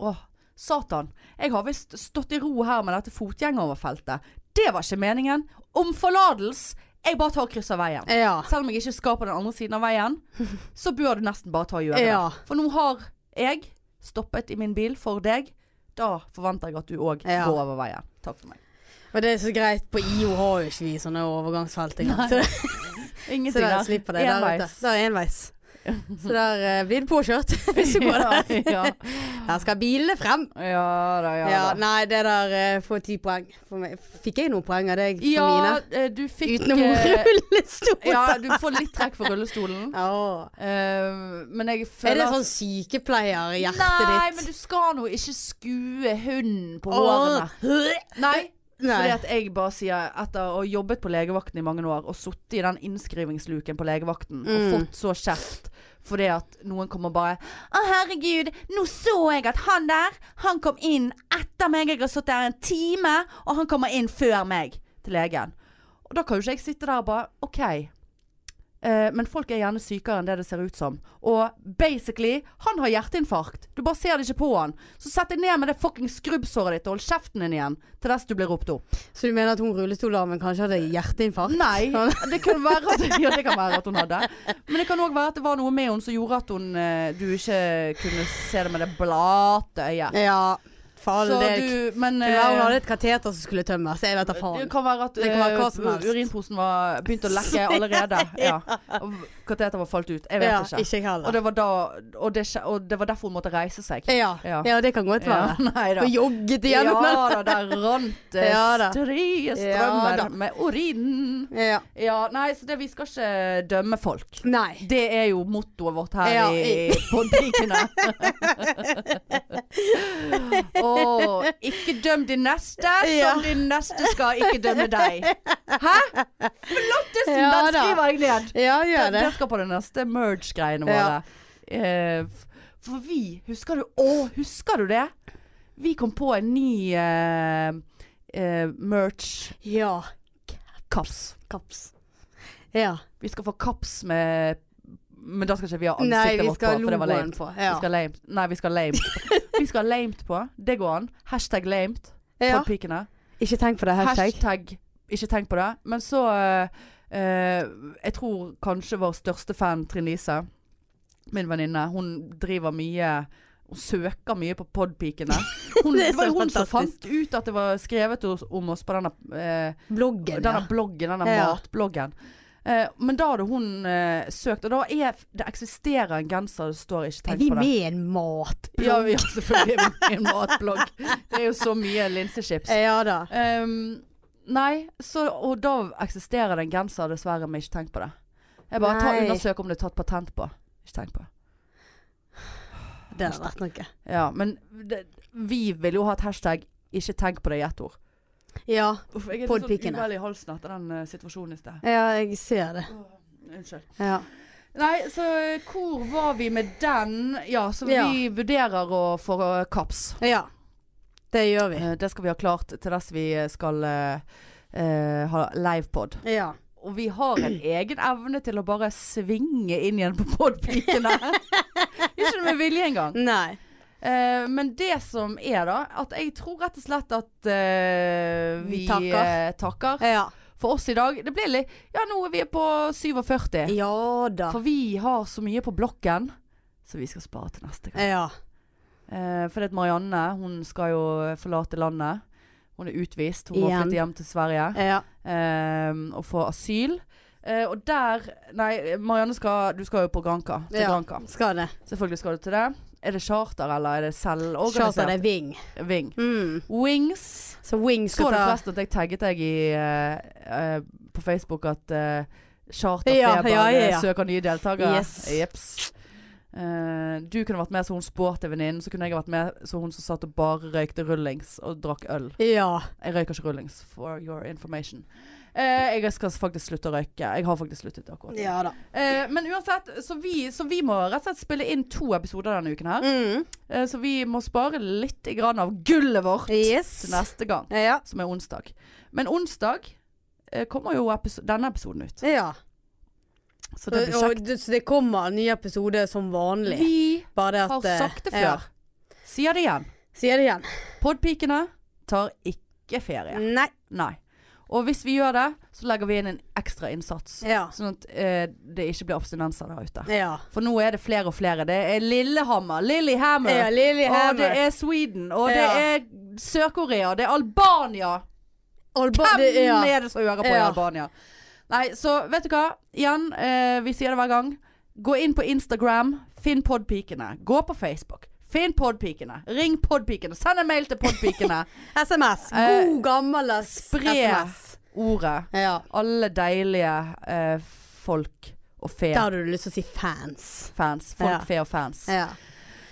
S2: Å, satan. Jeg har visst stått i ro her med dette fotgjengeroverfeltet. Det var ikke meningen. Om forlatelse. Jeg bare tar og krysser veien.
S1: Ja.
S2: Selv om jeg ikke skal på den andre siden av veien, så bør du nesten bare ta og gjøre
S1: Ja.
S2: det. For nå har jeg stoppet i min bil for deg. Da forventer jeg at du òg
S1: Ja.
S2: går over veien. Takk for meg.
S1: Og det er så greit, på IO har jo ikke vi sånne overgangsfelt engang. Så, det- så
S2: Ingenting
S1: der slipper det der ute.
S2: Enveis.
S1: Det er enveis. Så der eh, blir det påkjørt hvis du går der.
S2: ja,
S1: Der skal bilene frem.
S2: ja. ja da, ja,
S1: Ja,
S2: da.
S1: nei, det der eh, får ti poeng. For meg. Fikk jeg noen poeng av deg for
S2: Ja,
S1: mine?
S2: eh, du fikk
S1: Utenom
S2: eh,
S1: rullestol.
S2: Ja, du får litt trekk for rullestolen.
S1: Åh.
S2: Eh, men jeg føler
S1: Er det sånn sykepleierhjertet ditt?
S2: Nei, men du skal nå ikke skue hunden på hårene. Nei. Fordi at jeg bare sier Etter å ha jobbet på legevakten i mange år Og suttet i den innskrivingsluken på legevakten Og
S1: Mm.
S2: fått så kjeft Fordi at noen kommer bare Å herregud, nå så jeg at han der Han kom inn etter meg Jeg har suttet der en time Og han kommer inn før meg til legen Og da kan jo ikke jeg sitte der og bare Ok Eh, men folk er gjerne sykere enn det det ser ut som. Og basically, han har hjerteinfarkt. Du bare ser det ikke på han. Så sett deg ned med det fuckings skrubbsåret ditt og hold kjeften din igjen til dess du blir ropt opp.
S1: Så du mener at hun rullestolarmen kanskje hadde hjerteinfarkt?
S2: Nei,
S1: Sånn.
S2: det kan være at, ja, det kan være at hun hadde. Men det kan òg være at det var noe med henne som gjorde at hun, eh, du ikke kunne se det med det blate øyet.
S1: Ja, for all
S2: Så
S1: del.
S2: du, men
S1: Ja, hun
S2: eh,
S1: hadde et kateter som skulle tømmes. Jeg vet da
S2: Det
S1: faen.
S2: kan være at
S1: Det kan være hva
S2: eh,
S1: som helst.
S2: urinposen var begynt å lekke allerede. Ja. Og kateter var falt ut. Jeg vet
S1: Ja,
S2: ikke.
S1: ikke
S2: Og
S1: jeg heller.
S2: det var, da, og, det, skje- og det var derfor hun måtte reise seg.
S1: Ja.
S2: Ja.
S1: ja, det kan godt
S2: Ja,
S1: være.
S2: nei da.
S1: Og jogget
S2: Ja
S1: igjennom.
S2: da, der rant det
S1: Ja da.
S2: strie
S1: Ja
S2: strømmer
S1: da.
S2: med urin.
S1: Ja.
S2: Ja, nei, så det, vi skal ikke dømme folk.
S1: Nei.
S2: Det er jo mottoet vårt her
S1: Ja,
S2: i podpikene. Og ikke døm din neste
S1: Ja.
S2: som din neste skal ikke dømme deg. Hæ? Flottesen!
S1: Ja
S2: den
S1: da.
S2: skriver jeg ned.
S1: Ja, gjør
S2: Den,
S1: det.
S2: den skal på den neste merge-greiene våre.
S1: Ja.
S2: Eh, f- for vi Husker du Å, husker du det? Vi kom på en ny eh, eh, merge-kaps.
S1: Ja. Kaps. Ja.
S2: Vi skal få kaps med Men da skal ikke vi ha
S1: Nei,
S2: ansiktet
S1: vi
S2: vårt på,
S1: skal ha
S2: for det var
S1: logoen
S2: lame.
S1: på. Ja.
S2: Vi skal lame. Nei, vi skal ha lame. vi skal ha lamet på. Det går an. Hashtag lamet.
S1: Ja.
S2: Podpikene.
S1: Ikke tenk på det,
S2: Hashtag.
S1: hashtag.
S2: Ikke tenk på det. Men så eh, eh, Jeg tror kanskje vår største fan, Trine Lise, min venninne, hun driver mye hun søker mye på podpikene. Hun,
S1: Det er
S2: det var
S1: så
S2: jo hun som
S1: fantastisk.
S2: fant ut at det var skrevet os- om oss på denne eh,
S1: Bloggen,
S2: denne
S1: ja.
S2: bloggen, denne
S1: Ja.
S2: matbloggen. Eh, men da hadde hun eh, søkt, og da er Det eksisterer en genser, det står ikke
S1: Er
S2: tenk
S1: vi
S2: på det.
S1: med i en matblogg?
S2: Ja, vi, ja, selvfølgelig er vi med i en matblogg. Det er jo så mye linsechips.
S1: Ja da.
S2: Ehm, nei, så, og da eksisterer det en genser, dessverre, men ikke tenk på det. Jeg bare ta,
S1: Nei.
S2: undersøk om det er tatt patent på. Ikke tenk på det.
S1: Det hadde vært noe.
S2: Ja, men det, vi vil jo ha et hashtag 'ikke tenk på det' i ett ord.
S1: Ja,
S2: Uff, jeg er litt
S1: Podpikene.
S2: sånn uvel i halsen etter den eh, situasjonen i sted.
S1: ja jeg ser det.
S2: Unnskyld.
S1: Ja.
S2: Nei, så eh, hvor var vi med den? Ja, så
S1: Ja.
S2: vi vurderer å få eh, kaps.
S1: ja. Det gjør vi.
S2: Eh, Det skal vi ha klart til dess vi skal eh, eh, ha livepod.
S1: Ja.
S2: Og vi har en egen evne til å bare svinge inn igjen på podpikene. Ikke det med vilje engang.
S1: Nei.
S2: Eh, men det som er da, at jeg tror rett og slett at eh, vi,
S1: Vi takker.
S2: eh, takker
S1: Ja.
S2: for oss i dag. Det blir litt Ja, nå er vi på 47.
S1: Ja da.
S2: For vi har så mye på blokken, så vi skal spare til neste gang.
S1: Ja.
S2: Eh, for det at Marianne, hun skal jo forlate landet. Hun er utvist. Hun må
S1: Igjen.
S2: flytte hjem til Sverige
S1: Ja.
S2: eh, og få asyl. Eh, og der Nei, Marianne skal Du skal jo på Granca. Til
S1: Ja.
S2: Granca.
S1: Skal det.
S2: Selvfølgelig skal du til det. Er det charter, eller er det
S1: Charter det
S2: selvorganisert?
S1: er Ving.
S2: Ving.
S1: Mm.
S2: Wings.
S1: Så Ving
S2: Så
S1: skal
S2: du
S1: ta
S2: forresten at jeg tagget deg i, eh, eh, på Facebook at eh, Charterfeber
S1: Ja, ja, ja, ja.
S2: søker nye deltakere?
S1: Yes.
S2: Jeps. Eh, du kunne vært med så hun sporty venninnen, så kunne jeg vært med så hun som satt og bare røykte rullings og drakk øl.
S1: Ja.
S2: Jeg røyker ikke rullings, for your information. Eh, jeg skal faktisk slutte å røyke. Jeg har faktisk sluttet akkurat. nå.
S1: Ja da.
S2: Eh, men uansett, så vi, så vi må rett og slett spille inn to episoder denne uken her.
S1: Mm.
S2: Eh, så vi må spare litt grann av gullet vårt
S1: Yes.
S2: til neste gang
S1: Ja.
S2: som er onsdag. Men onsdag eh, kommer jo episo denne episoden ut.
S1: ja.
S2: Så det blir
S1: Og-
S2: kjekt.
S1: og det- Så det kommer en ny episode som vanlig.
S2: Vi
S1: Bare det at
S2: har
S1: eh,
S2: sagt det
S1: ja.
S2: før. Sier det igjen.
S1: Sier det igjen.
S2: Podpikene tar ikke ferie.
S1: Nei.
S2: Nei. Og hvis vi gjør det, så legger vi inn en ekstra innsats.
S1: Ja.
S2: Sånn at eh, det ikke blir abstinenser der ute.
S1: Ja.
S2: For nå er det flere og flere. Det er Lillehammer,
S1: ja
S2: Lillehammer, og det
S1: Lillehammer.
S2: er Sweden, og
S1: Ja.
S2: det er Sør-Korea, det er Albania.
S1: Alba- det-
S2: Hvem
S1: ja.
S2: er det som hører på i
S1: Ja.
S2: Albania? Nei, så vet du hva? Igjen, eh, vi sier det hver gang. Gå inn på Instagram, finn podpikene. Gå på Facebook, finn podpikene. Ring podpikene. Send en mail til podpikene.
S1: SMS.
S2: Eh,
S1: God gammel ass-
S2: spre.
S1: SMS.
S2: Ordet.
S1: Ja.
S2: Alle deilige eh, folk og fe.
S1: Da hadde du lyst til å si fans.
S2: Fans. Folk,
S1: Ja.
S2: fe og fans.
S1: Ja.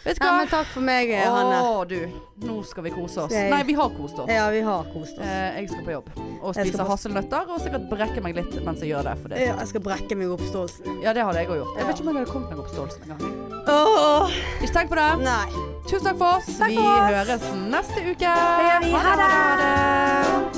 S2: Vet du
S1: ja
S2: hva?
S1: men takk for meg, eh, Hanne.
S2: Å, du. Nå skal vi kose oss.
S1: Jeg-
S2: Nei, vi har kost oss.
S1: Ja, vi har kost oss.
S2: Eh, jeg skal på jobb og
S1: Jeg skal
S2: spise
S1: på-
S2: hasselnøtter og sikkert brekke meg litt mens jeg gjør det. For det.
S1: Ja, jeg skal brekke meg opp stolsen.
S2: Ja, det hadde jeg òg gjort. Jeg
S1: Ja.
S2: vet ikke om jeg hadde kommet meg opp stolsen engang.
S1: Åh,
S2: Ikke tenk på det.
S1: nei.
S2: Tusen takk for oss.
S1: Takk
S2: Vi
S1: for oss.
S2: høres neste uke.
S1: Ja, vi- ha det.
S2: det.